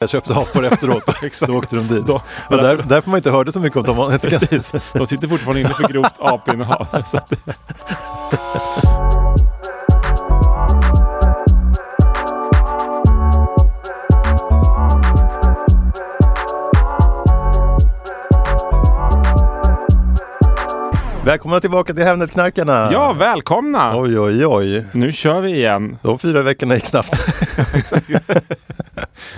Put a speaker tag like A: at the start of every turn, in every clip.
A: Jag köpte apor efteråt. Då åkte de dit. Men där, därför man inte hörde så mycket om dem. man inte kan-
B: Precis. De sitter fortfarande inne för grovt apinnehav. Så att-
A: Välkomna tillbaka till Hemnetknarkarna.
B: Ja, välkomna!
A: Oj, oj, oj.
B: Nu kör vi igen.
A: De fyra veckorna gick snabbt.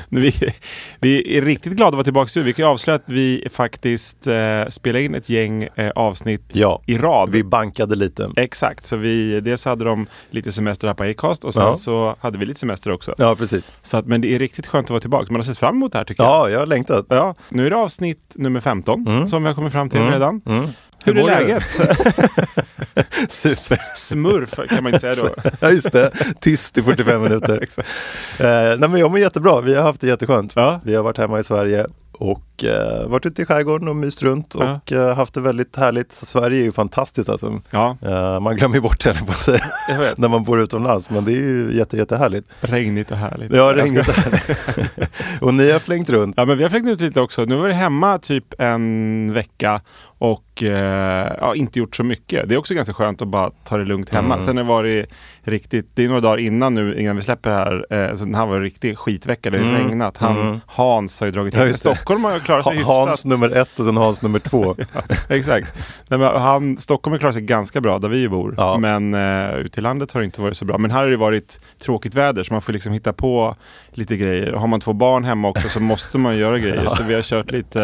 B: Nu, Vi, vi är riktigt glada att vara tillbaka. Vi kan ju avslöja att vi faktiskt eh, spelar in ett gäng eh, avsnitt
A: Ja,
B: i rad.
A: vi bankade lite.
B: Exakt, så vi, dels hade de lite semester här på Acast och sen
A: Ja.
B: så hade vi lite semester också.
A: Ja, precis.
B: Så att, men det är riktigt skönt att vara tillbaka. Man har sett fram emot det här tycker jag.
A: Ja, Mm. jag har längtat.
B: Ja, nu är det avsnitt nummer 15 som vi har kommit fram till redan.
A: Mm.
B: Hur,
A: Hur
B: är
A: mår du?
B: läget?
A: Super.
B: Smurf kan man inte säga då.
A: Ja, just det. Tyst i 45 minuter. eh, nej, men jag mår jättebra. Vi har haft det jätteskönt.
B: Ja.
A: Vi har varit hemma i Sverige och eh, varit ute i skärgården och myst runt
B: Ja.
A: och eh, haft det väldigt härligt. Sverige är ju fantastiskt alltså.
B: Ja,
A: Eh, man glömmer ju bort det, höll jag på att säga,
B: jag vet.
A: när man bor utomlands. Men det är ju jätte, jättehärligt.
B: Regnigt och härligt.
A: Ja,
B: Jag
A: regnigt.
B: ska-
A: och ni har flängt runt.
B: Ja, men vi har flängt ut lite också. Nu var vi hemma typ en vecka och eh, ja, inte gjort så mycket. Det är också ganska skönt att bara ta det lugnt hemma.
A: Mm.
B: Sen har det varit riktigt, det är några dagar innan nu, innan vi släpper det här, eh, så den här var en riktig skitvecka. Det har
A: Mm.
B: regnat. Han,
A: Mm.
B: Hans har ju dragit
A: Ja,
B: hit.
A: just det.
B: Stockholm har ju klarat sig
A: Ha,
B: hyfsat.
A: Hans nummer ett och sen Hans nummer två.
B: Exakt. Nej, men han, Stockholm har klarat sig ganska bra där vi ju bor.
A: Ja.
B: Men eh, ute i landet har det inte varit så bra. Men här har det varit tråkigt väder så man får liksom hitta på lite grejer. Har man två barn hemma också så måste man göra grejer. Så vi har kört lite,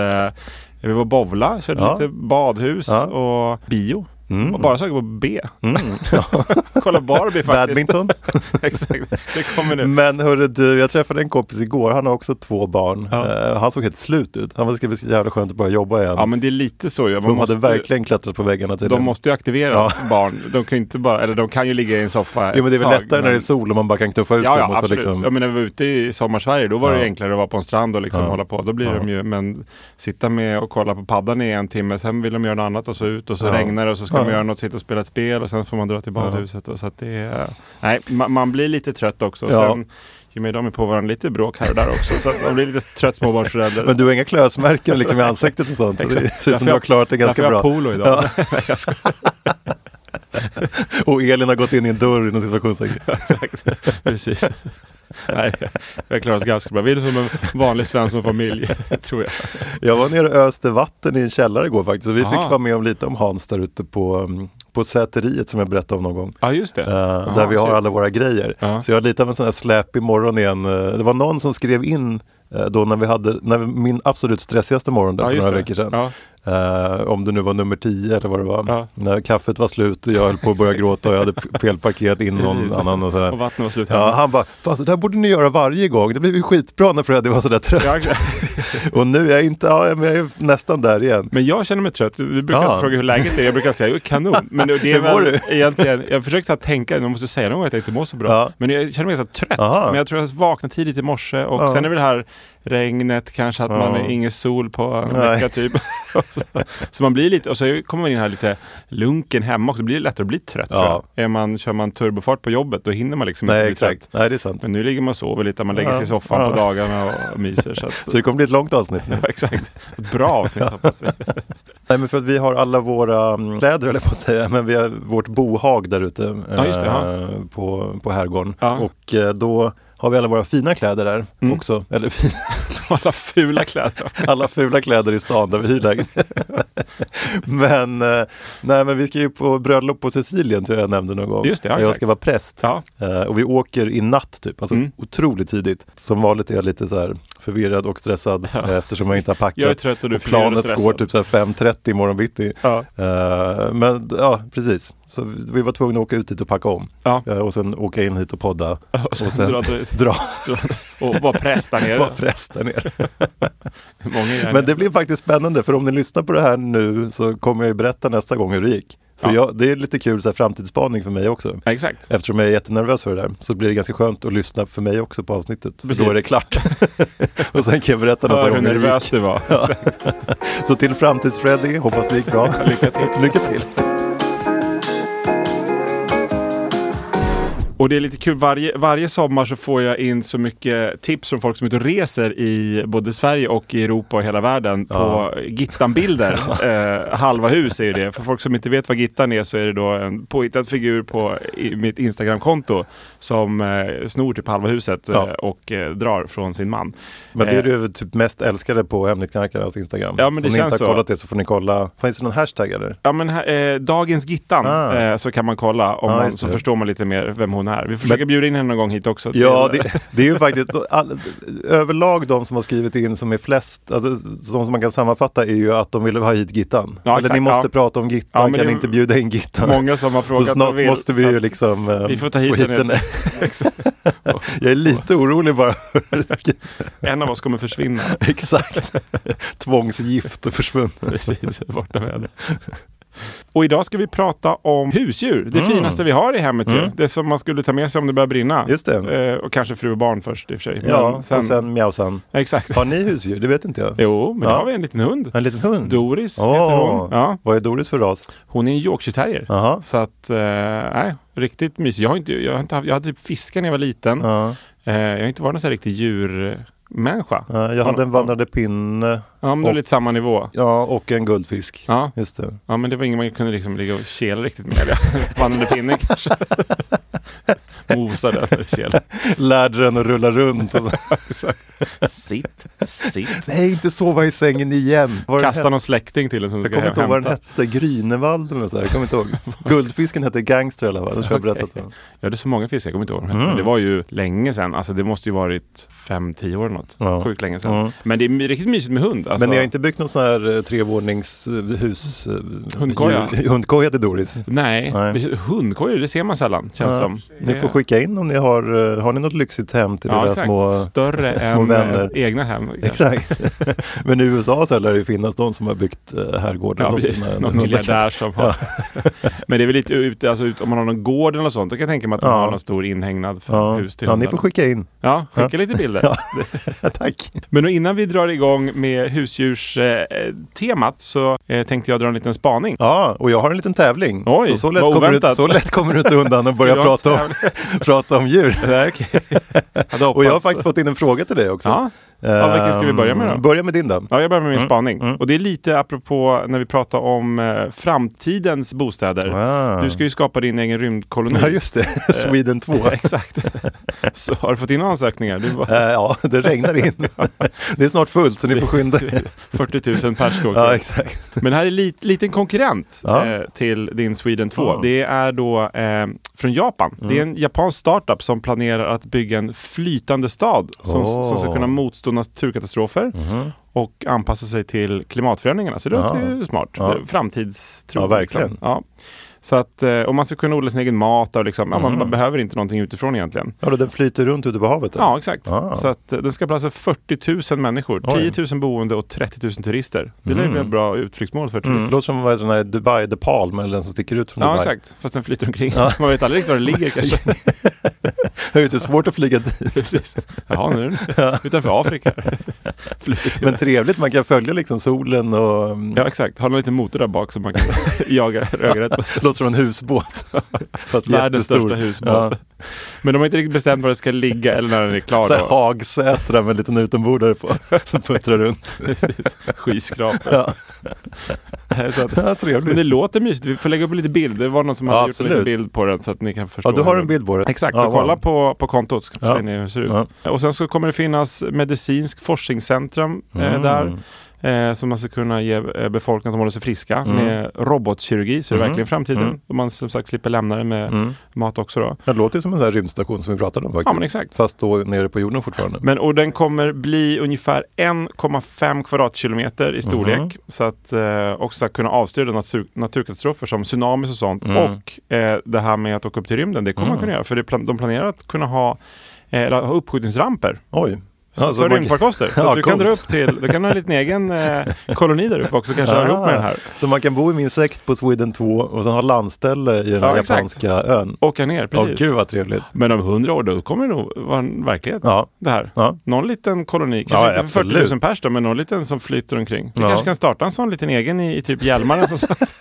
B: eh, vi var bovla, körde
A: Ja.
B: lite badhus
A: Ja.
B: och bio.
A: Mm.
B: Och bara saker på B.
A: Mm.
B: Kolla Barbie faktiskt.
A: Badminton.
B: Exakt, det kommer nu.
A: Men hörru du, jag träffade en kompis igår, han har också två barn.
B: Ja.
A: Eh, han såg helt slut ut. Han var så jävla skönt att börja jobba igen.
B: Ja men det är lite så ju. Man
A: de
B: måste-
A: hade verkligen klättrat på väggarna till
B: De måste ju aktiveras, barn. De kan ju inte bara, eller de kan ju ligga i en soffa
A: Jo men det är väl
B: ett tag,
A: lättare när det är
B: men-
A: sol och man bara kan knuffa ut
B: Ja,
A: dem.
B: ja
A: Och så
B: absolut.
A: liksom,
B: Ja, men när vi var ute i sommarsverige då var det
A: Ja.
B: ju enklare att vara på en strand och liksom
A: Ja.
B: hålla på. Då blir
A: Ja.
B: de ju, men sitta med och kolla på paddan i en timme, sen vill de göra något annat och så ut och så
A: Ja.
B: regnar det och så ska
A: Ja.
B: de göra något, sitta och spela ett spel och sen får man dra till
A: Ja.
B: badhuset. Och så att det, är- nej, man, man blir lite trött också. Och
A: Ja.
B: Sen, ju mer de är på varandra, lite bråk här och där också. Så att man blir lite trött småbarnsförälder.
A: men du har inga klösmärken liksom i ansiktet och sånt.
B: Exakt.
A: Det ser ut
B: Därför
A: som du har
B: jag-
A: klarat det ganska
B: Därför
A: bra.
B: har jag polo idag.
A: Och Elin har gått in i en dörr inom situationstecken.
B: Exakt, precis. Nej, vi har klarat oss ganska bra. Vi är som en vanlig svenssonfamilj, tror jag.
A: Jag var nere och öste vatten i en källare igår faktiskt. Så vi fick
B: Aha.
A: vara med om lite om Hans där ute på, mm, på Säteriet som jag berättade om någon gång.
B: Ja, just det.
A: Eh,
B: Aha,
A: där vi har
B: shit.
A: alla våra grejer.
B: Ja.
A: Så jag har lite av en sån här släp imorgon igen. Eh, Det var någon som skrev in eh, då när vi hade, när vi, min absolut stressigaste morgon där
B: Ja,
A: för
B: just
A: några
B: det.
A: veckor sedan.
B: Ja.
A: Eh, om det nu var nummer 10 eller vad det var.
B: Ja.
A: När kaffet var slut och jag höll på att börja gråta och jag hade f- fel paket in någon
B: Precis.
A: annan. Och, sådär.
B: Och vattnet var slut hemma.
A: ja, han bara, fan så där borde ni göra varje gång. Det blev ju skitbra när Freddy var sådär trött.
B: Ja, exakt.
A: Och nu är jag inte, ja, men jag är nästan där igen.
B: men jag känner mig trött. Du brukar
A: Ja.
B: inte fråga hur läget är. Jag brukar säga, "Jo, kanon. Men det är
A: Hur mår
B: väl egentligen, jag försökte så här tänka, jag måste säga någon gång att jag inte mår så bra.
A: Ja.
B: Men jag känner mig ganska trött.
A: Aha.
B: Men jag tror jag vaknade tidigt i morse och
A: Ja.
B: sen är väl det här regnet, kanske att
A: Ja.
B: man är ingen sol på en
A: Nej.
B: vecka typ. Och så, så man blir lite, och så kommer man in här lite lunken hemma också. Det blir lättare att bli trött
A: Ja.
B: tror jag. Är man, kör man turbofart på jobbet, då hinner man liksom
A: Nej,
B: bli
A: exakt.
B: trött.
A: Nej, det är sant. Mm.
B: Men nu ligger man och sover lite, man lägger
A: Ja.
B: sig i soffan på
A: Ja.
B: dagarna och myser. Så att,
A: Så det kommer bli ett långt avsnitt nu.
B: Ja, exakt. Ett bra avsnitt hoppas vi.
A: Nej, men för att vi har alla våra mm, kläder, eller på att säga, men vi har vårt bohag där ute
B: Ja, just det,
A: eh, på, på herrgården.
B: Ja.
A: Och eh, då har vi alla våra fina kläder där också. Eller fina,
B: Alla fula kläder.
A: Mm. alla fula kläder i stan där vi hyr lägenhet. men, eh, nej, men vi ska ju på bröllop på Sicilien tror jag jag nämnde någon gång.
B: Just det, ja,
A: jag
B: exakt.
A: ska vara präst.
B: Ja.
A: Eh, och vi åker i natt typ, alltså
B: Mm.
A: otroligt tidigt. Som vanligt är jag lite så här förvirrad och stressad eh, eftersom jag inte har packat.
B: Jag är trött och du är förvirrad och
A: planet
B: stressad.
A: går typ så här 5.30 imorgon bitti.
B: Ja.
A: Eh, men ja, precis. Så vi- vi var tvungna att åka ut dit och packa om.
B: Ja.
A: Eh, och sen åka in hit och podda.
B: Och sen dra till-
A: dra
B: Och vara präst där nere.
A: vara präst där nere.
B: Många gör
A: Men det blir faktiskt spännande för om ni lyssnar på det här nu så kommer jag ju berätta nästa gång hur det gick. Så
B: Ja.
A: jag, det är lite kul så här, framtidsspaning för mig också.
B: Ja, Exakt.
A: Eftersom jag är jättenervös för det där så blir det ganska skönt att lyssna för mig också på avsnittet. För
B: Precis.
A: då är det klart. och sen kan jag berätta nästa
B: Hör hur
A: gång hur det
B: nervös
A: gick.
B: du var.
A: Så till framtids-Freddy, hoppas det gick bra. Lycka till. Lycka till.
B: Eh. Och det är lite kul, varje, varje sommar så får jag in så mycket tips från folk som är ute och reser i både Sverige och i Europa och hela världen på Gittan-bilder. eh, halva hus är ju det. För folk som inte vet vad Gittan är så är det då en påhittad figur på i, mitt Instagram-konto som eh, snor typ halva huset
A: Ja.
B: eh, och eh, drar från sin man.
A: Men det är
B: Eh,
A: du typ mest älskade på Hemligknarkarnas Instagram.
B: Ja, men det
A: så om ni
B: känns
A: inte
B: så.
A: har kollat det så får ni kolla. Finns det någon hashtag eller?
B: Ja men här, eh, dagens Gittan
A: Ah.
B: eh, så kan man kolla om
A: Ja,
B: man,
A: just
B: så
A: det.
B: förstår man lite mer vem hon är. Vi försöker
A: Men-
B: bjuda in henne någon gång hit också. till-
A: Ja, det, det är ju faktiskt all, överlag de som har skrivit in som är flest, alltså de som man kan sammanfatta är ju att de vill ha hit Gittan.
B: Ja,
A: Eller
B: exakt,
A: ni måste
B: ja.
A: prata om
B: Ja,
A: Gittan,
B: men
A: kan
B: det-
A: ni inte bjuda in Gittan?
B: Många som har frågat
A: Så
B: och
A: snart
B: vill,
A: måste vi
B: så
A: ju
B: att
A: liksom eh,
B: vi får ta hit henne. Exakt.
A: Jag är lite orolig bara.
B: En av oss kommer försvinna.
A: Exakt. Tvångsgift och försvunnen.
B: Precis, borta med det. Och idag ska vi prata om husdjur,
A: Mm.
B: det finaste vi har i hemmet ju. Det som man skulle ta med sig om det börjar brinna.
A: Just det.
B: Eh, och kanske fru och barn först i och för sig.
A: Ja,
B: Men sen-
A: och sen mjausan.
B: Exakt.
A: Har ni husdjur? Det vet inte jag.
B: Jo, men då
A: Ja.
B: har vi en liten hund.
A: En liten hund?
B: Doris heter
A: Åh,
B: hon. Ja.
A: Vad är Doris för ras? Eh,
B: Hon är en Yorkshire terrier.
A: Aha.
B: Så att, eh, nej, riktigt mysig. Jag, har inte, jag, har inte, haft- jag hade typ fiskar när jag var liten.
A: Ja.
B: Eh, jag har inte varit någon sån här riktig djurmänniska.
A: Ja, Jag hade en vandrande pinne
B: Ja, men det är lite samma nivå.
A: ja, och en guldfisk.
B: Ja.
A: Just det.
B: Ja, men det var ingen man kunde liksom ligga och kela riktigt med. Eller Vandrande pinne kanske. Mosa den och kela.
A: Lärde den att rulla runt. Och så.
B: Sitt, sitt.
A: Nej, inte sova i sängen igen. Var den
B: Kasta
A: hette-
B: någon släkting till en som
A: jag
B: ska
A: kommer inte ihåg vad den
B: hämta.
A: hette, Grünewald eller så här. Jag kommer inte ihåg. Guldfisken hette Gangster i alla fall, det har jag
B: Okej.
A: berättat om. Mm.
B: Jag hade så många fiskar, jag kommer inte ihåg vad de hette. Det var ju länge sedan. Alltså det måste ju varit fem, tio år eller något.
A: Ja.
B: Sjukt länge sedan.
A: Ja.
B: Men det är my- riktigt mysigt med hund. Alltså.
A: Men ni har inte byggt någon sån här eh, trevåningshus... eh,
B: Hundkoja.
A: djur- Hundkoja till Doris.
B: Nej,
A: Nej.
B: Det- hundkojor det ser man sällan känns
A: Ja.
B: som.
A: Ni får skicka in om ni har, eh, har ni något lyxigt hem till
B: ja,
A: era
B: exakt.
A: små...
B: Större
A: små
B: än
A: vänner.
B: eh, egna hem.
A: Exakt. Men i USA så lär det ju finnas de som har byggt eh, herrgårdar.
B: Ja,
A: De
B: precis.
A: som är-
B: Någon
A: de gillar katter.
B: miljardär som har... Men det är väl lite ute, alltså ut, om man har någon gård eller något sånt, då kan jag tänka mig att de
A: Ja.
B: har någon stor inhägnad för
A: Ja,
B: hus till
A: ja ni
B: hunden.
A: får skicka in.
B: Ja, skicka lite bilder.
A: Ja. Tack.
B: Men då innan vi drar igång med husdjurstemat eh, temat så eh, tänkte jag dra en liten spaning.
A: Ja, och jag har en liten tävling.
B: Oj,
A: så, så, lätt
B: vad
A: kommer du,
B: oväntat.
A: så lätt kommer du inte undan och
B: du
A: börja
B: ha en
A: prata om, prata om djur.
B: Hade hoppats-
A: Och jag har faktiskt fått in en fråga till dig också.
B: Ja. Ja, vilken ska vi börja med då?
A: Ehm, Börja med din då.
B: Ja, jag börjar med
A: Mm.
B: min spaning. Och det är lite apropå när vi pratar om eh, framtidens bostäder.
A: Ah.
B: Du ska ju skapa din egen rymdkoloni.
A: Ja, just
B: Eh.
A: det. Sweden 2.
B: Exakt. Så har du fått in några ansökningar? Det var
A: Eh, ja, det regnar in. det är snart fullt så ni får skynda er.
B: 40 000 pers går
A: Ja,
B: till.
A: exakt.
B: Men här är lit, liten konkurrent
A: Ja.
B: eh, till din Sweden 2. Det är då eh, från Japan. Det
A: Mm.
B: är en japansk startup som planerar att bygga en flytande stad som,
A: Åh. Mm-hmm.
B: som ska kunna motstå naturkatastrofer och anpassa sig till klimatförändringarna. Så det låter ju smart.
A: Ja.
B: Framtidstro.
A: Ja, verkligen.
B: liksom. Ja. Så att, eh, och man ska kunna odla sin egen mat och liksom, ja,
A: Mm-hmm.
B: man behöver inte någonting utifrån egentligen.
A: Ja, då, den flyter runt ute på havet? eller?
B: Ja, exakt.
A: Ah.
B: Så att eh, den ska plats för 40 000 människor,
A: Oj.
B: 10 000 boende och 30 000 turister. Det lär ju bli ett bra utflyktsmål för turister.
A: Det Mm. låter som vad heter den här Dubai, The Palm, eller den som sticker ut från
B: Ja,
A: Dubai.
B: exakt. Fast den flyter omkring. Man vet aldrig riktigt var den ligger kanske.
A: Ja, just Det är svårt att flyga dit.
B: Precis. Jaha, nu är den utanför Afrika. Flyter till-
A: Men trevligt, man kan följa liksom solen och... mm,
B: Ja, exakt. Har någon liten motor där bak som man kan jaga ögat på.
A: Det låter som en husbåt. Fast
B: Världens
A: jättestor.
B: största husbåt.
A: Ja.
B: Men de har inte riktigt bestämt var den ska ligga eller när den är klar.
A: Så här
B: Då.
A: Hagsätra med en liten utombordare på som puttrar runt.
B: Precis. Skyskrapa.
A: Ja.
B: Så att,
A: Ja, trevligt.
B: Men det låter mysigt. Vi får lägga upp lite bilder. Det var någon som
A: Ja,
B: hade gjort en liten
A: absolut.
B: bild på den så att ni kan förstå.
A: Ja, du har
B: hur-
A: en bild på det.
B: Exakt,
A: ja,
B: så
A: wow.
B: kolla på, på kontot så
A: Ja.
B: ser ni hur det ser ut. Och sen så kommer det finnas medicinsk forskningscentrum
A: Mm.
B: eh, där. Eh, som man ska kunna ge eh, befolkningen att de håller sig friska
A: Mm.
B: med robotkirurgi. Så det är verkligen framtiden. Och man som sagt slipper lämna det med
A: Mm.
B: mat också då.
A: Det låter ju som en sån här rymdstation som vi pratade om faktiskt.
B: Ja men exakt.
A: Fast då nere på jorden fortfarande.
B: Men, och den kommer bli ungefär 1,5 kvadratkilometer i storlek.
A: Mhm.
B: Så att eh, också kunna avstyra natur, naturkatastrofer som tsunamis och sånt.
A: Mm.
B: Och eh, det här med att åka upp till rymden, det kommer man kunna göra. För det plan, de planerar att kunna ha, eh, eller ha uppskjutningsramper.
A: Oj.
B: Så
A: Ja, så
B: för
A: man-
B: rymdfarkoster. Så
A: Ja,
B: att du kan
A: coolt.
B: dra upp till, du kan ha en liten egen eh, koloni där uppe också kanske, höra ihop
A: Ah.
B: med den här.
A: Så man kan bo i min sekt på Sweden 2 och sen ha landställe i den här
B: Ja, exakt.
A: japanska ön.
B: Åka ner,
A: Åh
B: precis.
A: gud vad trevligt.
B: Men om hundra år, då kommer det nog vara en verklighet.
A: Ja.
B: Det här.
A: Ja.
B: Någon liten koloni, kanske
A: Ja,
B: inte för 40
A: absolut.
B: 000 pers då, men någon liten som flyter omkring. Vi
A: Ja.
B: kanske kan starta en sån liten egen i, i typ Hjälmaren. Som satt.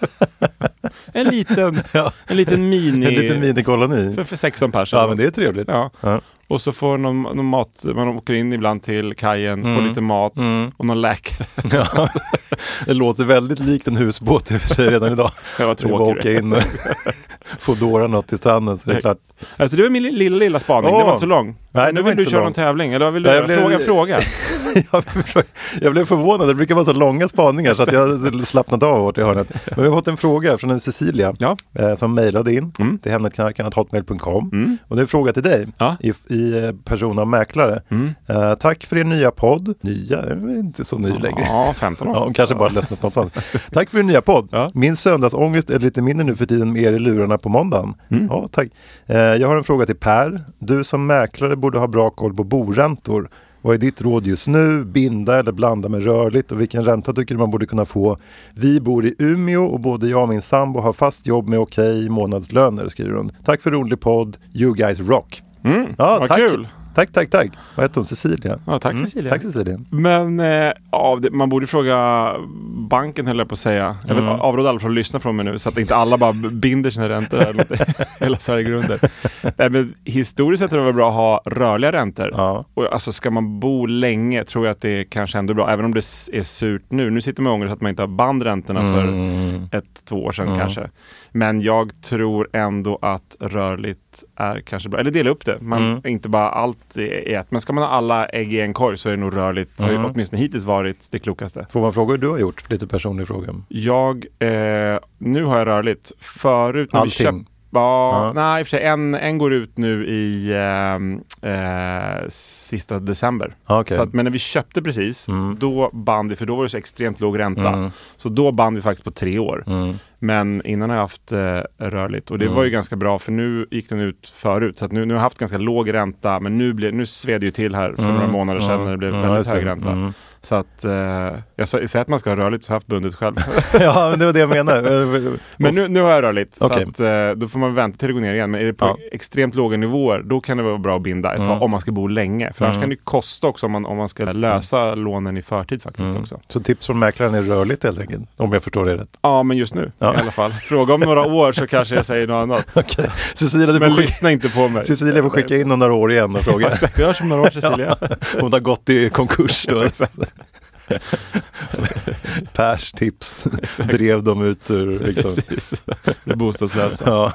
B: en liten,
A: Ja.
B: en liten mini,
A: En liten minikoloni.
B: För, för 16 pers.
A: Ja men det är trevligt.
B: Ja.
A: Ja.
B: Och så får någon, någon mat, man åker in ibland till kajen,
A: Mm.
B: får lite mat och någon läkare.
A: Ja. Det låter väldigt likt en husbåt i och för sig redan idag.
B: Ja, vad
A: Det är bara att
B: tråkigt.
A: åka in och få dåra något till stranden så det är klart.
B: Alltså det var min li- lilla, lilla spaning,
A: Åh.
B: det var inte så lång.
A: Nej, det
B: nu
A: var
B: vill
A: inte
B: du
A: så
B: köra
A: lång.
B: någon tävling, eller vad vill du
A: Nej,
B: göra?
A: jag
B: Fråga,
A: blev-
B: fråga.
A: Jag blev- Jag blev förvånad, det brukar vara så långa spaningar så att jag slappnat av vart i hörnet. Men vi har fått en fråga från en Cecilia
B: Ja. Mm.
A: eh, som mejlade in till hemnetknarkarna.hotmail.com. Och det är en fråga till dig
B: Ja. Mm.
A: i, i eh, person av mäklare. Eh, tack för er nya podd. Nya? Jag är inte så ny längre.
B: Ja, 15 år.
A: Ja, hon kanske bara lyssnat något sånt. Tack för din nya podd. Min söndagsångest är lite mindre nu för tiden med er i lurarna på måndagen.
B: Mm.
A: Ja, tack. Eh, jag har en fråga till Per. Du som mäklare borde ha bra koll på boräntor. Vad är ditt råd just nu? Binda eller blanda med rörligt? Och vilken ränta tycker du man borde kunna få? Vi bor i Umeå och både jag och min sambo har fast jobb med okej månadslöner, skriver hon. Tack för rolig podd. You guys rock.
B: Mm, vad
A: tack.
B: kul.
A: Tack, tack, tack. Vad heter hon? Cecilia? Mm.
B: Ja, tack, Cecilia.
A: Tack Cecilia.
B: Men eh, ja, det, man borde fråga banken höll jag på att säga. Jag vill avråda alla från att lyssna från mig nu så att inte alla bara b- binder sina räntor. Där, mot hela Sverige grunden. Nej, men historiskt sett är det väl bra att ha rörliga räntor.
A: Ja.
B: Och, alltså, ska man bo länge tror jag att det kanske ändå är bra, även om det s- är surt nu. Nu sitter man i ångest att man inte har band räntorna för ett, två år sedan kanske. Men jag tror ändå att rörligt är kanske bra. Eller dela upp det. Man, Inte bara allt i i ett. Men ska man ha alla ägg i en korg så är det nog rörligt. Det har ju åtminstone hittills varit det klokaste.
A: Får man fråga hur du har gjort? Lite personlig fråga.
B: Jag, eh, nu har jag rörligt. Förut när
A: Allting?
B: vi köpte Ja, nej i och för sig. En, en går ut nu i ehm, eh, sista december.
A: Ah, okej. Mm.
B: Så att, men när vi köpte precis, då band vi, för då var det så extremt låg ränta. Så då band vi faktiskt på tre år.
A: Mm.
B: Men innan har jag haft eh, rörligt och det var ju ganska bra för nu gick den ut förut. Så att nu, nu har jag haft ganska låg ränta men nu, blev, nu sved det ju till här för några månader sedan när det blev
A: Mm,
B: väldigt
A: just det.
B: hög ränta. Så att eh, jag sa- säger att man ska ha rörligt så har jag haft bundet själv.
A: ja, men det var det jag menade.
B: Men nu, nu har jag rörligt,
A: Okej.
B: så att, eh, då får man vänta till det går ner igen. Men är det på
A: Ja.
B: extremt låga nivåer, då kan det vara bra att binda ett tag om man ska bo länge. För annars kan det ju kosta också om man, om man ska
A: Mm.
B: lösa lånen i förtid faktiskt också.
A: Så tips från mäklaren är rörligt helt enkelt, om jag förstår det rätt.
B: Ja, men just nu i alla fall. Fråga om några år så kanske jag säger något annat.
A: Okej, Cecilia, du
B: Men
A: får skicka,
B: lyssna inte på mig.
A: Cecilia får skicka in om några år igen och fråga.
B: Exakt, vi hörs om några år Cecilia.
A: Hon har gått i konkurs då. Pers tips drev dem ut ur... Liksom.
B: Precis. Blir bostadslösa.
A: Ja.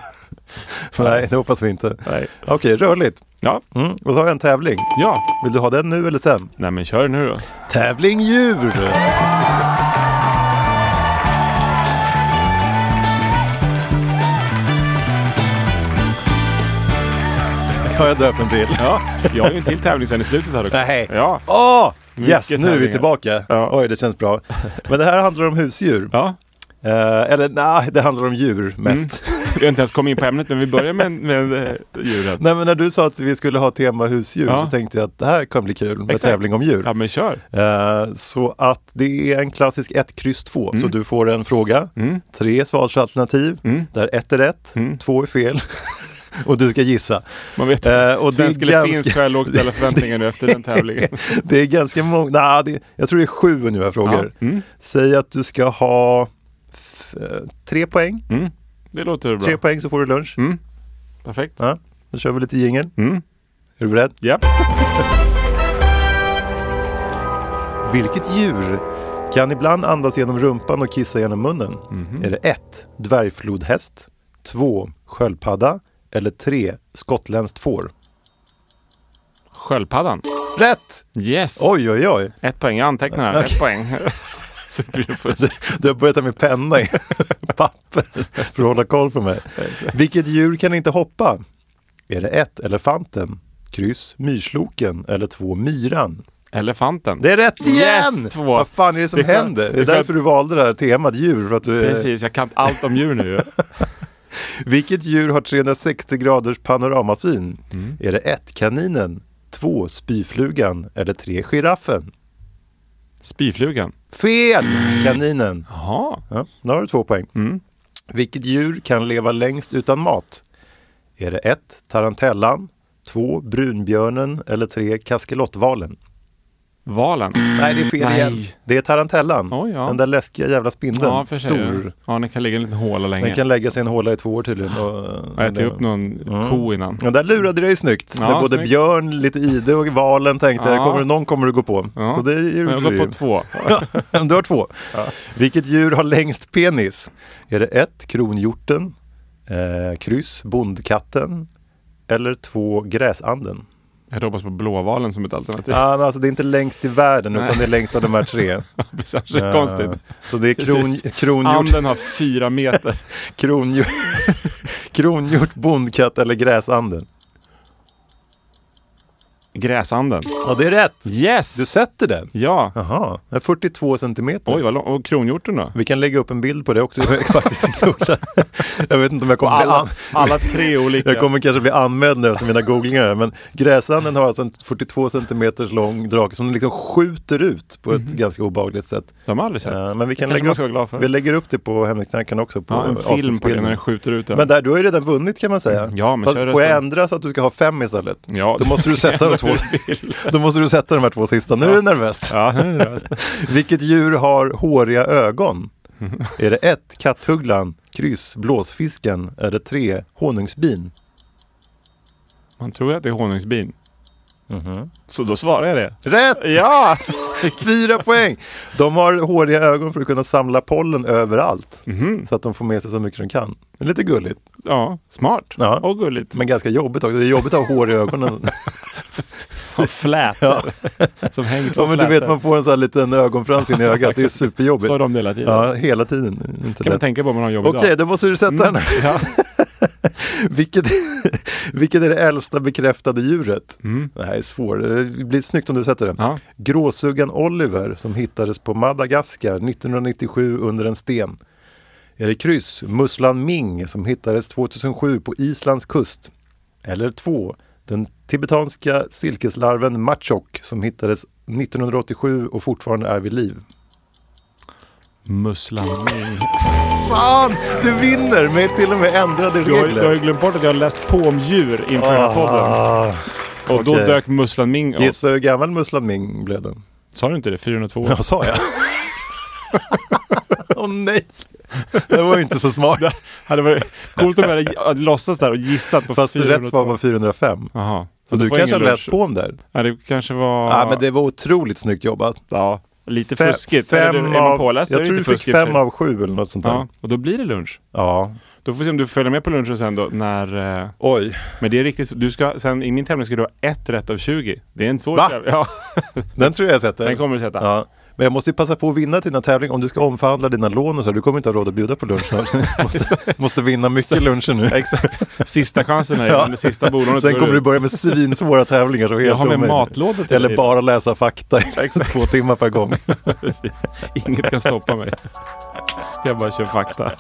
A: Nej, det hoppas vi inte.
B: Nej.
A: Okej, rörligt.
B: Ja.
A: Mm. Och så har jag en tävling.
B: ja,
A: Vill du ha den nu eller sen?
B: nej men kör nu då.
A: Tävling djur! Har jag döpt en till?
B: Ja, jag har ju en till tävling sen i slutet här också.
A: Nej.
B: Ja.
A: Åh!
B: Mycket
A: Ah, yes, nu är vi
B: tävlingar.
A: tillbaka.
B: Ja.
A: Oj, det känns bra. Men det här handlar om husdjur.
B: ja. Mm.
A: Eh, eller nej, det handlar om djur mest.
B: Jag har inte ens kommit in på ämnet men vi börjar med, med eh, djuren.
A: Nej, men när du sa att vi skulle ha tema husdjur
B: Ja.
A: så tänkte jag att det här kan bli kul med
B: Exakt.
A: tävling om djur.
B: Ja men kör.
A: Eh, Så att det är en klassisk 1, kryss 2.
B: Mm.
A: Så du får en fråga, tre svarsalternativ, där ett är rätt, två är fel och du ska gissa.
B: Mm. Man vet
A: Eh, och det är
B: svensk eller
A: ganska-
B: finsk har jag lågt ställa förväntningar nu efter den tävlingen.
A: Det är ganska många, nah, det, jag tror det är sju ungefär frågor.
B: Ja, mm.
A: Säg att du ska ha f- eh, tre poäng.
B: Mm. Det låter bra.
A: Tre poäng så får du lunch.
B: Mm. Perfekt.
A: Ja, då kör vi lite jingel.
B: Mm.
A: Är du beredd?
B: Ja.
A: Vilket djur Kan ibland andas genom rumpan och kissa genom munnen.
B: Mhm.
A: Är det 1. Dvärgflodhäst 2. Sköldpadda eller 3. Skottländskt får?
B: Sköldpaddan.
A: Rätt!
B: Yes!
A: Oj, oj, oj.
B: Ett poäng, jag antecknar här. Ett poäng. Så blir det fusk.
A: Du har börjat ta med penna i papper för att hålla koll på mig. Vilket djur kan inte hoppa? Är det 1. Elefanten? Kryss myrsloken eller 2. Myran?
B: Elefanten.
A: Det är rätt igen!
B: Yes, två.
A: Vad fan är det som
B: Det är klart-
A: händer? Det
B: det
A: är
B: är klart-
A: därför du valde det här temat djur. För att du,
B: Precis, jag kan allt om djur nu ju.
A: Vilket djur har 360 graders panoramasyn?
B: Mm.
A: Är det 1. Kaninen? 2. Spyflugan? Eller 3. Giraffen?
B: Spyflugan.
A: Fel! Kaninen.
B: Jaha.
A: Ja, nu har du två poäng.
B: Mm.
A: Vilket djur kan leva längst utan mat? Är det 1. Tarantellan? 2. Brunbjörnen? Eller 3. Kaskelottvalen?
B: Valen.
A: Nej, det är fel
B: Nej.
A: igen. Det är tarantellan.
B: Oj, ja.
A: Den där läskiga jävla spindeln.
B: Ja, för sig.
A: Stor.
B: Ja, den kan ligga i en liten håla länge.
A: Den kan lägga sig i en håla i två år tydligen. Och, eh,
B: Och äta upp någon ko innan.
A: Ja, där lurade du dig snyggt.
B: Ja,
A: När både
B: snyggt.
A: björn, lite ide och valen tänkte
B: Ja.
A: kommer, någon kommer du gå på.
B: Ja.
A: Så det är ju
B: Men jag går på två.
A: Ja, du har två. Vilket djur har längst penis? Är det ett, kronhjorten, eh, kryss, bondkatten eller två, gräsanden?
B: Jag hoppas på blåvalen som ett alternativ.
A: Ja, men alltså, det är inte längst i världen utan det är längst av de här tre.
B: Det blir särskilt
A: Eh,
B: konstigt.
A: Så det är kron,
B: Precis.
A: kronhjort,
B: Anden har fyra meter.
A: kronhjort, kronhjort, bondkatt eller gräsanden.
B: Gräsanden.
A: Ja, det är rätt.
B: Yes!
A: Du sätter den.
B: Ja.
A: Jaha, den är 42 centimeter.
B: Oj, vad lång. Och kronhjorten då?
A: Vi kan lägga upp en bild på det också. Jag, faktiskt googla. jag vet inte om jag kommer, bli
B: Alla,
A: an-
B: alla tre olika.
A: jag kommer kanske bli anmäld nu efter mina googlingar. här, Men gräsanden har alltså en 42 centimeters lång drake som den liksom skjuter ut på ett ganska obehagligt sätt.
B: Mhm. De har aldrig sett.
A: Eh, men vi, kan
B: Det kanske
A: lägga
B: man ska vara glad
A: upp,
B: för.
A: vi lägger upp det på Hemligknarkarna också. På
B: ja, en film på det
A: avsnittsbilden.
B: när den skjuter ut den. Mm,
A: Men där, du har ju redan vunnit kan man säga.
B: Ja, men
A: Fast
B: kör
A: får jag
B: resten.
A: ändra så att du ska ha fem istället?
B: Ja,
A: då,
B: du
A: måste du
B: kan
A: sätta de
B: göra
A: två,
B: hur du
A: då måste du sätta de här två sista. Nu är du nervös.
B: Ja, det är det.
A: Vilket djur har håriga ögon? Är det ett Katthugglan, kryss, blåsfisken eller tre Honungsbin?
B: Man tror ju att det är honungsbin.
A: Mhm.
B: Så då svarar jag det.
A: Rätt!
B: Ja!
A: Fyra poäng! De har håriga ögon för att kunna samla pollen överallt.
B: Mhm.
A: Så att de får med sig så mycket de kan. Det är lite gulligt,
B: Ja, smart.
A: Ja.
B: Och gulligt.
A: men ganska jobbigt också. Det är jobbigt att ha hår i ögonen.
B: Som flätor. Som hänger på
A: ja, men du
B: flätor.
A: vet, man får en sån här liten ögonfrans in i ögat. Det är superjobbigt.
B: Så har de det hela tiden.
A: Ja, hela tiden. Inte
B: kan man
A: lätt.
B: tänka på om man har jobb
A: Okej,
B: idag. Mm.
A: då måste du sätta den här.
B: Ja.
A: Vilket, vilket är det äldsta bekräftade djuret? Det här är svårt. Det blir snyggt om du sätter den.
B: Ja.
A: Gråsuggan Oliver som hittades på Madagaskar 1997 under en sten. Är det kryss? Musslan Ming som hittades 2007 på Islands kust. Eller två, den tibetanska silkeslarven Machok som hittades 1987 och fortfarande är vid liv.
B: Musslan.
A: Fan, du vinner med till och med ändrade
B: Du har,
A: regler.
B: du har ju glömt bort att jag har läst på om djur inför den här podden.
A: Ah,
B: Och då
A: okej.
B: dök Musslan Ming upp.
A: Gissa hur gammal Musslan Ming blev den?
B: Sa du inte det? 402 år?
A: Ja, sa jag. Åh nej, det var ju inte så smart.
B: hade varit coolt om jag hade hade låtsats där och gissat på
A: Fast
B: 402.
A: rätt svar var 405.
B: Jaha.
A: Så
B: Men
A: du
B: då får
A: kanske
B: jag
A: har
B: ingen
A: läst
B: lunch.
A: på om där.
B: Ja, det kanske var...
A: Ja, men det var otroligt snyggt jobbat.
B: Ja, lite
A: Fe-
B: fuskigt. Eller
A: Fem
B: är man
A: av,
B: påläst så är
A: jag
B: det
A: tror
B: inte
A: du fick
B: fuskigt för
A: fem
B: sig.
A: av sju eller något sånt där.
B: Ja,
A: Ja.
B: och då blir det lunch. Då får vi se om du följer med på lunchen sen då när... eh,
A: Oj,
B: Men det är riktigt så- du ska, sen i min tävling ska du ha ett rätt av 20. Det är en svår
A: Va?
B: tävling. Ja,
A: den tror jag jag sätter.
B: den kommer du sätta.
A: Ja. Men jag måste ju passa på att vinna dina tävlingar. Om du ska omförhandla dina lån och så, här, du kommer inte ha råd att bjuda på lunch. Du måste, måste vinna mycket luncher nu.
B: Exakt. Sista chansen här
A: Ja.
B: innan det sista bolånet
A: Sen
B: går
A: kommer
B: ut.
A: du börja med svinsvåra tävlingar. Så helt
B: har med
A: omöjligt.
B: matlådor till
A: Eller
B: dig.
A: bara läsa fakta i två timmar per gång.
B: Precis. Inget kan stoppa mig. Jag bara kör fakta.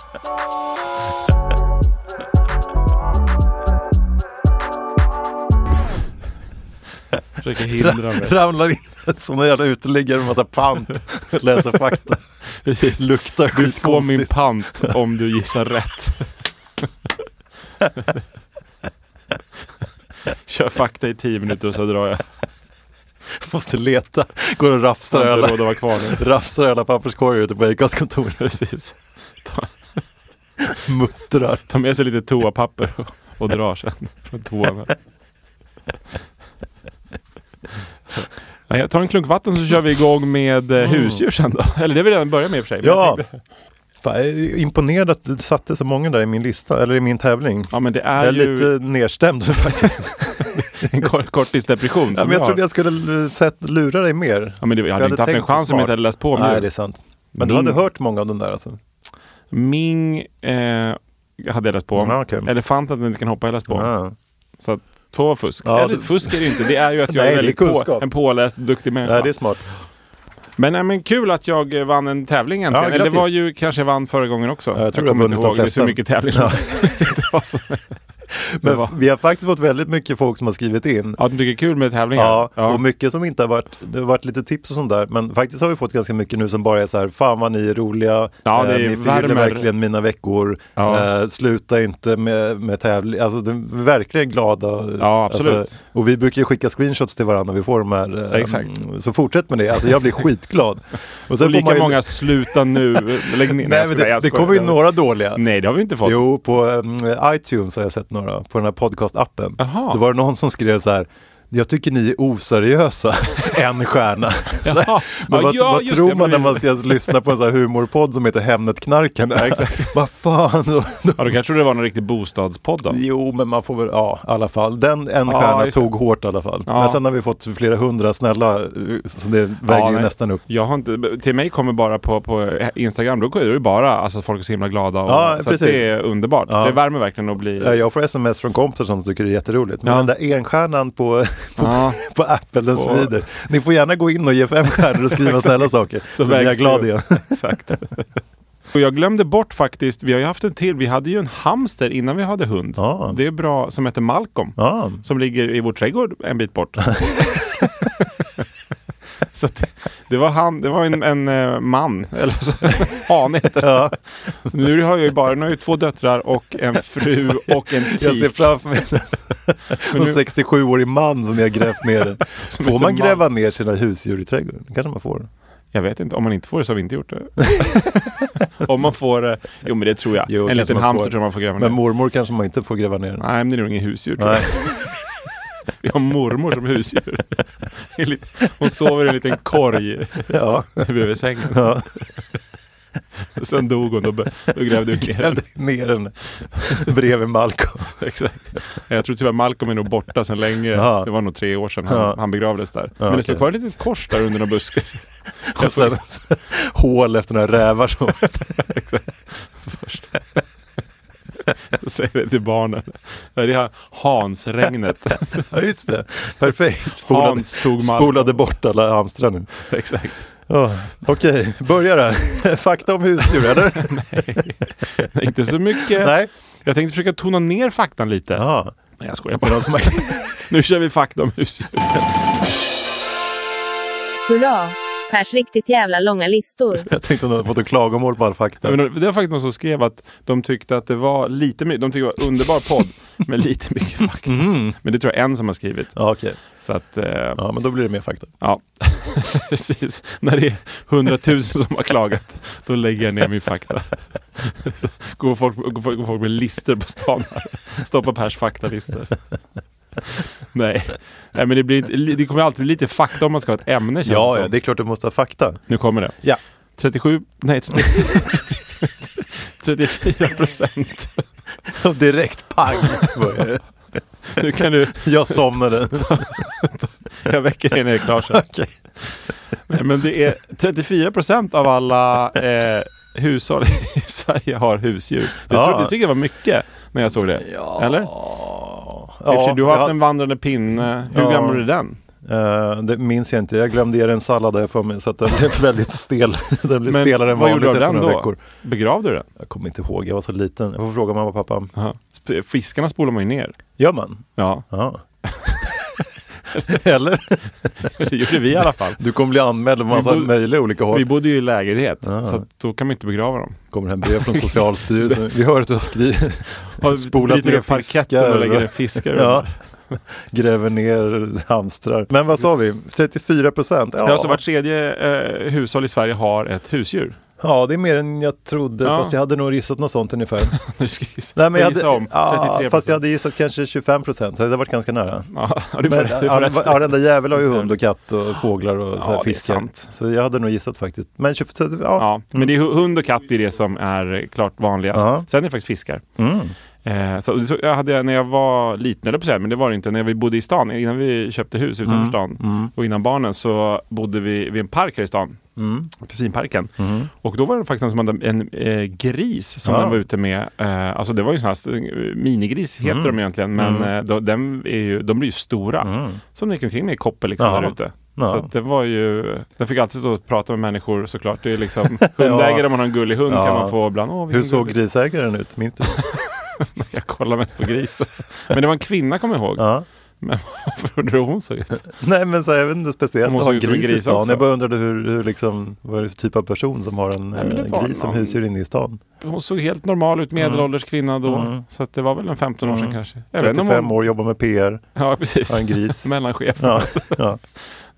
B: Försöker hindra mig.
A: Ramlar in sådana jävla uteliggare med massa pant. Läser fakta.
B: Precis.
A: Luktar
B: Du får min
A: skitkonstigt.
B: pant om du gissar rätt. Kör fakta i tio minuter och så drar jag.
A: Måste leta. Går och rafsar
B: Jag har inte råd att
A: alla,
B: vara kvar nu.
A: rafsar alla papperskorgar ute på Acasts kontor.
B: Precis. Ta,
A: Muttrar.
B: ta med sig lite toapapper och, och drar sen från toan. Ja, Jag tar en klunk vatten så kör vi igång med eh, husdjur sen då. Eller det har vi redan börjat med i och för sig. men jag
A: Mm. Ja!
B: tänkte-
A: Fan, jag är imponerad att du satte så många där i min lista, eller i min tävling.
B: ja men det är,
A: Jag är
B: ju
A: lite nedstämd faktiskt.
B: en kor- korttidsdepression
A: ja,
B: som
A: men jag
B: har.
A: trodde jag skulle l- sett lura dig mer.
B: Ja, men det, jag
A: För
B: hade inte haft en
A: tänkt så
B: chans om jag
A: smart.
B: inte hade läst på om
A: Nej,
B: djur.
A: det är sant. Men du
B: Min-
A: hade hört många av de där alltså?
B: Ming eh, hade jag läst på om.
A: Ja, okej.
B: Elefanten att den inte kan hoppa har jag läst på om.
A: Ja.
B: Så att, två var fusk.
A: Ja,
B: Eller
A: det-
B: fusk är det ju inte. Det är ju att jag
A: Nej, det
B: är
A: är
B: väldigt på,
A: kunskap.
B: en påläst, duktig människa.
A: Nej, det är smart.
B: Men, nej, men kul att jag eh, vann en tävling äntligen. Eller det
A: grattis.
B: var ju kanske jag vann förra gången också.
A: jag tror du har
B: kommer inte
A: vunnit de
B: ihåg. Det är så
A: flesta.
B: mycket tävlingar.
A: Ja.
B: Det var så-
A: Men
B: var-
A: vi har faktiskt fått väldigt mycket folk som har skrivit in.
B: ja, de tycker det är kul med tävlingar.
A: Ja, och mycket som inte har varit, det har varit lite tips och sånt där, men faktiskt har vi fått ganska mycket nu som bara är så här, fan vad ni är roliga,
B: Ja, det
A: eh,
B: är
A: ni
B: värmer.
A: förgyller verkligen mina veckor,
B: Ja.
A: eh, sluta inte med, med tävling, alltså de är verkligen glada.
B: Ja, absolut.
A: Alltså, och vi brukar ju skicka screenshots till varandra när vi får de här, eh,
B: Exakt.
A: mm, så fortsätt med det, alltså jag blir skitglad. Och sen
B: och
A: får
B: lika
A: man ju-
B: många sluta nu. Lägg ner.
A: Nej,
B: jag
A: men
B: skojar,
A: det,
B: jag
A: det
B: skojar.
A: kommer ju några dåliga.
B: Nej, det har vi inte fått.
A: Jo, på eh, iTunes har jag sett några, på den här podcastappen.
B: Jaha.
A: Då var det någon som skrev så här, jag tycker ni är oseriösa, en stjärna. Så, här,
B: Jaha.
A: men
B: Ja,
A: vad,
B: ja,
A: vad
B: just
A: tror
B: det,
A: man när
B: men-
A: man ska lyssna på en sån här humorpodd som heter Hemnetknarkarna? vad fan? Då, då,
B: Ja, då kanske det var någon riktig bostadspodd då.
A: jo, men man får väl, ja, i alla fall. Den en
B: Ja,
A: stjärna
B: just det.
A: tog hårt i alla fall.
B: Ja.
A: Men sen har vi fått flera hundra snälla, eh, så det väger
B: Ja,
A: ju
B: nej.
A: nästan upp.
B: Jag har inte, till mig kommer bara på, på Instagram, då är det ju bara alltså, folk är så himla glada. Och,
A: Ja,
B: så att
A: precis.
B: det är underbart. Det värmer verkligen att bli...
A: Ja, Jag får sms från kompisar som tycker det är jätteroligt. Men
B: Ja.
A: den där enstjärnan på, på,
B: Ja.
A: på Apple, den
B: På-
A: svider. Ni får gärna gå in och ge fem stjärnor och skriva snälla saker. Så, blir jag
B: vägs det
A: glad
B: upp.
A: igen.
B: Exakt. Och jag glömde bort faktiskt, vi har ju haft en till, vi hade ju en hamster innan vi hade hund.
A: Ja.
B: Det är bra, som heter Malcolm.
A: Ja.
B: Som ligger i vår trädgård en bit bort. så att, det var han, det var en, en eh, man, eller så, hane heter det.
A: Ja.
B: Nu har jag ju bara, nu har jag ju två döttrar och en fru och en tik.
A: Jag ser framför mig
B: Men
A: en
B: nu-
A: 67-årig man som ni har grävt ner.
B: Som
A: får
B: heter
A: man
B: Mal-
A: gräva ner sina husdjur i trädgården? Det kanske man får.
B: Jag vet inte, om man inte får det så har vi inte gjort det. om man får det, jo men det tror jag.
A: Jo,
B: en
A: kanske
B: liten
A: man
B: hamster
A: får.
B: tror jag man får gräva ner.
A: Men mormor kanske man inte får gräva ner.
B: Nej men det är nog ingen husdjur tror jag.
A: Nej.
B: Vi har mormor som husdjur. Hon sover i en liten korg
A: Ja.
B: bredvid sängen.
A: Ja.
B: Sen dog hon, då, be- då grävde vi ner
A: Grävde
B: henne.
A: ner den bredvid Malcolm.
B: Exakt. Jag tror tyvärr Malcolm är nog borta sedan länge.
A: Ja.
B: Det var nog tre år sedan han,
A: Ja.
B: han begravdes där. Men det stod
A: okej.
B: kvar ett litet kors där under några buskar.
A: Och sen hål efter några rävar som
B: Exakt. Först. Jag säger det till barnen. Det är det här Hans-regnet.
A: Ja just det, perfekt. Spolade,
B: Hans tog Malcolm.
A: spolade bort alla hamstrar nu.
B: Exakt.
A: Ja, Okej, börja då. Fakta om husdjur eller?
B: Inte så mycket.
A: Nej.
B: Jag tänkte försöka tona ner faktan lite.
A: Ja.
B: Nej, jag skojar bara. nu kör vi fakta om husdjur.
C: Hurra! Pers riktigt jävla långa listor.
A: Jag tänkte om du hade fått ett klagomål på all fakta.
B: Men det var faktiskt någon som skrev att de tyckte att det var lite mycket, de tyckte det var en underbar podd med lite mycket fakta. Men det tror jag en som har skrivit.
A: Ja, okej.
B: Så att, eh, ja.
A: Mm. Ja, men då blir det mer fakta.
B: precis. När det är hundratusen som har klagat, då lägger jag ner min fakta. Så går, folk, går, folk, går folk med lister på stan här. Stoppa Pers faktalistor. Nej. Nej, men det, blir, inte- det kommer alltid bli lite fakta om man ska ha ett ämne känns
A: Ja, ja,
B: som.
A: det är klart du måste ha fakta.
B: Nu kommer det.
A: Ja.
B: 37, nej 30, 34 procent.
A: Och direkt pang börjar det.
B: Nu kan du,
A: Jag somnade.
B: jag väcker dig när det är klart sen.
A: Okej.
B: Nej, men det är 34 procent av alla eh, hushåll i Sverige har husdjur. Det,
A: Ja.
B: tror, det tycker jag var mycket när jag såg det. Eller? I och för sig,
A: Ja,
B: du har haft
A: jag-
B: en vandrande pinne. Hur
A: Ja.
B: gammal är den?
A: Eh, det minns jag inte. Jag glömde ge den sallad har jag för mig. Så att den blev väldigt stel. Den blev stelare än
B: vad gjorde
A: vanligt
B: du av
A: efter
B: den
A: några
B: då?
A: veckor.
B: Begravde du den?
A: Jag kommer inte ihåg, jag var så liten. Jag får fråga mamma och pappa.
B: Aha. Sp- Fiskarna spolar man ju ner.
A: Gör man?
B: Ja,
A: Ja. Eller?
B: det gjorde vi i alla fall.
A: Du kommer bli anmäld på massa
B: Vi bor-
A: möjliga olika håll.
B: Vi bodde ju i lägenhet, så att då kan man inte begrava dem.
A: kommer hem brev från Socialstyrelsen. Vi hör att du har skrivit,
B: Har
A: spolat
B: bryter
A: ner
B: upp parketten
A: fiskar.
B: och lägger ner fiskar
A: ja,
B: under.
A: gräver ner hamstrar. Men vad sa vi? 34 procent?
B: Ja. Alltså var tredje eh, hushåll i Sverige har ett husdjur.
A: Ja, det är mer än jag trodde,
B: Ja.
A: fast jag hade nog gissat något sånt ungefär.
B: Du ska gissa.
A: Nej, men jag
B: Får gissa
A: hade,
B: om. 33
A: ja, fast jag hade gissat kanske 25 procent, så det hade varit ganska nära.
B: Ja, du får,
A: Men
B: rätt. du får
A: alla-
B: rätt.
A: varenda jävel har ju hund och katt och fåglar och så
B: det
A: här
B: är
A: fiskar.
B: sant.
A: Så jag hade nog gissat faktiskt. Men 20, ja.
B: Ja, men det är hu- hund och katt är det som är klart vanligast.
A: Ja. Mm.
B: Sen är det faktiskt fiskar. Eh, så, så jag hade, när jag var liten, eller på att säga, men det var det inte, när vi bodde i stan, innan vi köpte hus utanför
A: Mm.
B: stan och innan barnen så bodde vi vid en park här i stan.
A: Mm.
B: Tessinparken. Och då var det faktiskt någon som hade en eh, gris som
A: Ja.
B: den var ute med. Eh, alltså det var ju en sån här st- minigris, heter
A: Mm.
B: de egentligen, men eh, då, den är ju, de blir ju stora. Som de gick omkring med i koppel liksom,
A: Ja.
B: där ute.
A: Ja.
B: Så att det var ju, den fick alltid stå och prata med människor såklart. Det är liksom, hundägare om man har en gullig hund
A: Ja.
B: kan man få ibland. Åh, vilken
A: Hur såg
B: gullig-
A: grisägaren ut? Minns du?
B: Jag kollar mest på grisen. Men det var en kvinna kommer jag ihåg.
A: Ja.
B: Men varför undrar du hur hon såg ut?
A: Nej, men så här, jag vet inte speciellt
B: Hon
A: att ha
B: såg
A: en
B: ut som en
A: gris i
B: gris
A: stan.
B: också.
A: Jag bara undrade hur, hur liksom, vad är det för typ av person som har en
B: men det
A: eh,
B: var
A: gris som
B: någon-
A: husdjur inne i stan?
B: Hon såg helt normal ut, medelålders kvinna då. Så att det var väl en 15 år sedan kanske. Jag vet inte om
A: 35
B: hon-
A: Mm. år, jobbar med PR.
B: Ja, precis.
A: har en gris.
B: Mellanchef.
A: Ja, ja.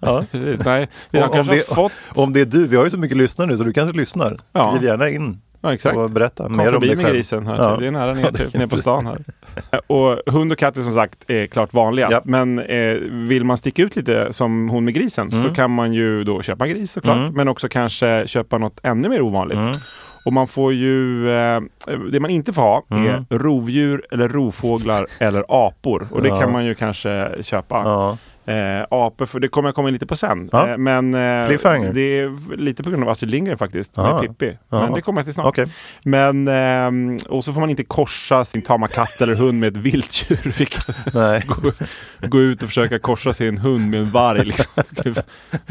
A: Ja.
B: Precis. Nej, vi har
A: Om- om
B: kanske
A: det-
B: har fått...
A: Om det är du, vi har ju så mycket lyssnare nu så du kanske lyssnar.
B: Ja.
A: Skriv gärna in
B: ja, exakt.
A: och berätta
B: Kom
A: mer om
B: förbi
A: dig
B: med
A: själv.
B: grisen här.
A: Ja.
B: Det är nära ner,
A: det är
B: typ, ner på stan här. Och hund och katt är som sagt eh, klart vanligast.
A: Ja.
B: Men eh, vill man sticka ut lite som hon med grisen
A: Mm.
B: så kan man ju då köpa en gris såklart. Men också kanske köpa något ännu mer ovanligt.
A: Mm.
B: Och man får ju, eh, det man inte får ha
A: Mm.
B: är rovdjur eller rovfåglar eller apor. Och det kan man ju kanske köpa.
A: Ja.
B: Eh, apor, för det kommer jag komma in lite på sen.
A: Ja.
B: Eh, men eh,
A: Cliffhanger.
B: det är lite på grund av Astrid Lindgren faktiskt,
A: Ah.
B: med Pippi.
A: Ja.
B: Men det kommer jag till snart.
A: Okej.
B: Men, ehm, och så får man inte korsa sin tama katt eller hund med ett viltdjur. Vilket,
A: Nej.
B: gå, gå ut och försöka korsa sin hund med en varg. Liksom. Då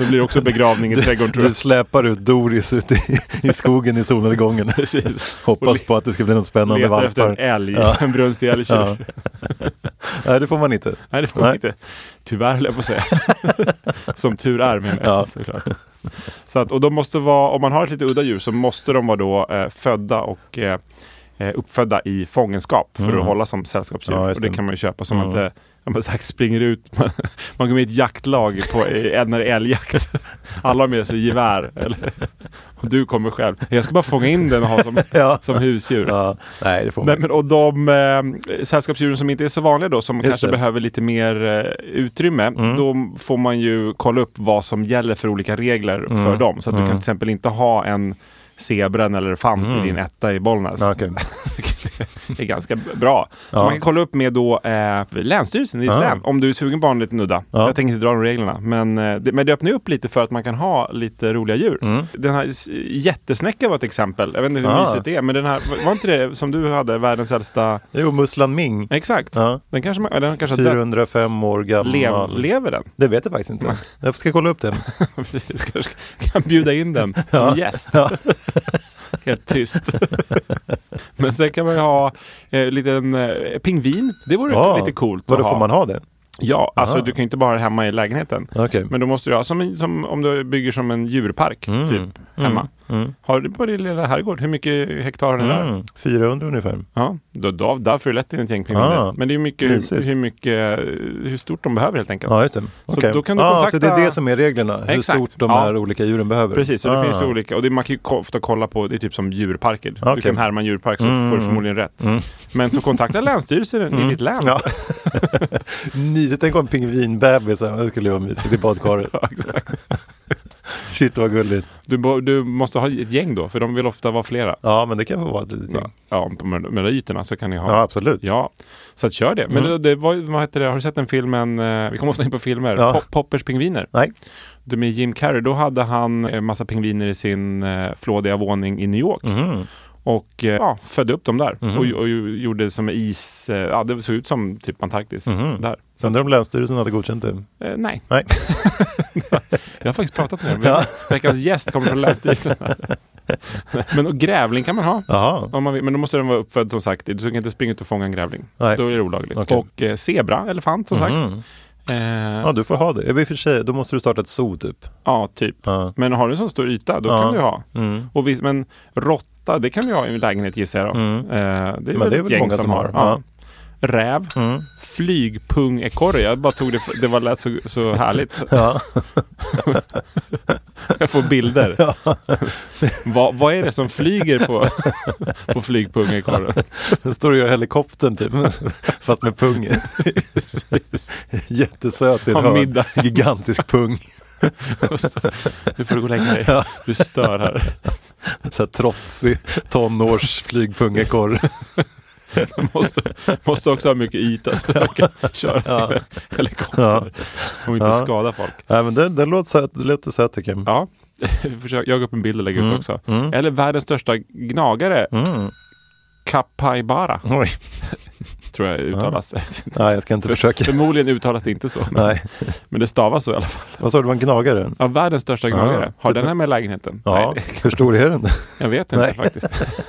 B: blir det också begravning i trädgården tror
A: Du
B: jag.
A: släpar ut Doris ute i, i skogen i solnedgången.
B: Precis.
A: Hoppas på att det ska bli något spännande
B: Letar efter en
A: valpar.
B: älg,
A: Ja.
B: en brunstig älgtjur.
A: Ja. Nej, det får man inte.
B: Nej, det får man
A: Nej.
B: inte. Tyvärr höll jag på att säga. Som tur är menar jag
A: Ja.
B: såklart. Så att, och de måste vara, om man har ett lite udda djur så måste de vara då eh, födda och eh, eh, uppfödda i fångenskap för att hålla som sällskapsdjur.
A: Mm. Ja, just
B: och det
A: det.
B: kan man ju köpa som att eh, man bara sagt springer ut, man, man går med i ett jaktlag på, eh, när det är älgjakt. Alla har med sig gevär. Eller, och du kommer själv. Jag ska bara fånga in den och ha som,
A: Ja.
B: som husdjur.
A: Ja. Nej, det får man
B: Nej,
A: inte.
B: men, och de eh, sällskapsdjuren som inte är så vanliga då, som
A: Just
B: kanske
A: det. Mm.
B: behöver lite mer eh, utrymme, då får man ju kolla upp vad som gäller för olika regler
A: Mm.
B: för dem. Så att du kan till exempel inte ha en zebra eller elefant
A: Mm.
B: i din etta i Bollnäs.
A: Ja, okej.
B: det är ganska bra. Så man kan kolla upp med då eh, Länsstyrelsen i ditt
A: Ah.
B: län, om du är sugen på en liten nudda. Jag tänker inte dra de reglerna, men, eh, det, men det öppnar ju upp lite för att man kan ha lite roliga djur.
A: Mm.
B: Den här s- jättesnäckan var ett exempel, jag vet inte hur
A: Ah.
B: mysigt det är, men den här, var inte det som du hade, världens äldsta?
A: Jo, musslan Ming.
B: Exakt,
A: Ja.
B: den kanske, man, den kanske har dött.
A: 405 år gammal.
B: Lev, lever den?
A: Det vet jag faktiskt inte. Jag ska kolla upp det.
B: Precis, kanske kan bjuda in den som gäst. Helt tyst. Men sen kan man ju ha eh, liten eh, pingvin. Det vore
A: Ja.
B: lite coolt
A: Vadå,
B: att ha.
A: får man ha det?
B: Ja, alltså
A: Aha.
B: du kan ju inte bara ha det hemma i lägenheten.
A: Okej.
B: Men då måste du ha, som, en- som om du bygger som en djurpark,
A: Mm.
B: typ, hemma. Har du på din lilla herrgård, hur mycket hektar har ni där?
A: Mm. 400 ungefär.
B: Ja, då, då, där får du lätt in ett gäng pingviner.
A: Ah,
B: Men det är ju mycket, hur,
A: mysigt.
B: hur mycket, hur stort de behöver helt enkelt.
A: Ja, just det.
B: Så
A: Okej.
B: då kan du
A: ah,
B: kontakta-
A: Så det är det som är reglerna, hur
B: Exakt.
A: stort de
B: Ja.
A: här olika djuren behöver.
B: Precis, så det
A: ah.
B: finns olika. Och det, man kan ju ko- ofta kolla på, det är typ som djurparker. Du
A: Okej. Mm.
B: kan härma en djurpark så får du förmodligen rätt. Men så kontakta Länsstyrelsen i ditt län.
A: Ja. Mysigt, tänk om en pingvinbebis, det skulle ju vara mysigt i badkaret.
B: Ja, exakt.
A: Shit vad gulligt.
B: Du, bo- du måste ha ett gäng då, för de vill ofta vara flera.
A: Ja, men det kan få vara ett litet
B: Ja,
A: gäng.
B: ja på- med, med de ytorna så kan ni ha.
A: Ja, Mm. absolut.
B: Ja, så att kör det. Men det, det var, ju- vad heter det, har du sett den filmen, eh, vi kommer ofta in på filmer,
A: Ja.
B: Pop, Poppers pingviner?
A: Nej.
B: Det med Jim Carrey, då hade han en massa pingviner i sin eh, flådiga våning i New York. Och eh, ja, födde upp dem där och, och ju- gjorde som is, eh, ja det såg ut som typ Antarktis där.
A: Så undrar om Länsstyrelsen hade godkänt det.
B: Eh, nej,
A: Nej.
B: jag har faktiskt pratat med dem. Men Veckans gäst kommer från Länsstyrelsen. men och grävling kan man ha.
A: Jaha.
B: Om man vill, men då måste den vara uppfödd som sagt. Du kan inte springa ut och fånga en grävling.
A: Nej.
B: Då är det olagligt.
A: Okej.
B: Och eh, zebra, elefant som sagt. Eh,
A: Ja, du får ha det. Ja, i och för sig, då måste du starta ett zoo typ.
B: Ja, typ.
A: Ja.
B: Men har du en sån stor yta, då
A: Ja. Mm.
B: kan du ha. Och visst, men råtta, det kan vi ha i en lägenhet gissar jag. då. Eh, det är
A: Mm. det är
B: väl ett
A: väl
B: gäng
A: många
B: som
A: som
B: har.
A: har. Mm.
B: Ja. Räv, flygpungekorre. Jag bara tog det, för, det var, lät så, så härligt. Jag får bilder. Va, vad är det som flyger på, på flygpungekorren?
A: Den står och gör helikoptern typ, fast med pung. Jättesöt i ett
B: Har
A: hörn.
B: middag.
A: Gigantisk pung.
B: Just det. Nu får du gå och lägga dig. Du stör här.
A: Så här trotsig tonårs flygpungekorv.
B: Man måste, måste också ha mycket yta så man kan köra
A: Ja.
B: sin helikopter. Om inte
A: Ja.
B: skada folk.
A: Nej men den, den låter söt, det låter söt tycker jag.
B: Ja, försök jaga upp en bild och lägga
A: Mm.
B: ut också. Eller världens största gnagare, Capybara,
A: Oj,
B: tror jag uttalas.
A: nej jag ska inte försöka.
B: Förmodligen uttalas det inte så, men,
A: Nej,
B: men det stavas så i alla fall.
A: vad sa du, det var en gnagare?
B: Ja, världens största gnagare.
A: Ja.
B: Har den här med lägenheten?
A: Ja,
B: Nej,
A: hur stor är den?
B: jag vet inte
A: Nej.
B: faktiskt.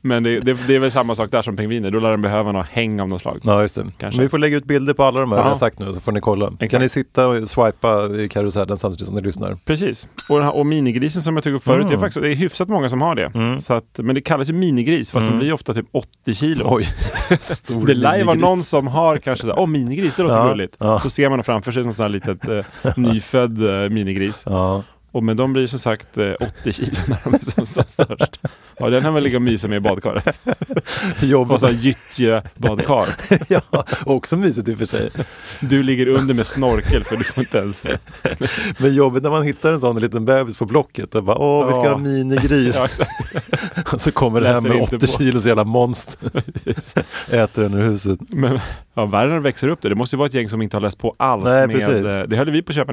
B: men det, det, det är väl samma sak där som pingviner, då lär den behöva något häng av något slag.
A: Ja, just det.
B: Kanske.
A: Men vi får lägga ut bilder på alla de här
B: Ja.
A: jag har sagt nu så får ni kolla. Kan ni sitta och swipa i karusellen samtidigt som ni lyssnar?
B: Precis. Och, den här, och minigrisen som jag tog upp förut,
A: Mm.
B: det, är faktiskt, det är hyfsat många som har det. Så att, men det kallas ju minigris, fast de blir ofta typ 80 kilo.
A: Mm. Oj, stor
B: Det lär ju vara
A: minigris.
B: någon som har kanske såhär, åh minigris, det låter
A: Ja,
B: gulligt.
A: ja.
B: Så ser man framför sig en sån här litet eh, nyfödd eh, minigris.
A: Ja.
B: Och, men de blir ju som sagt eh, 80 kilo när de är som, som störst. Ja, den här väl ligga och mysa med i badkaret. Och
A: Jobbigt.
B: så här gyttjebadkar.
A: ja, också mysigt i och för sig.
B: Du ligger under med snorkel för du får inte ens...
A: Men jobbigt när man hittar en sån liten bebis på Blocket och bara åh vi ska
B: Ja.
A: ha minigris.
B: Ja, exakt.
A: och så kommer det här
B: Läser
A: med
B: inte
A: 80
B: på.
A: kilos jävla monster. Äter den ur huset.
B: Men ja, värre när de växer upp det. Det måste ju vara ett gäng som inte har läst på alls.
A: Nej, precis.
B: med, eh, det höll vi på att köpa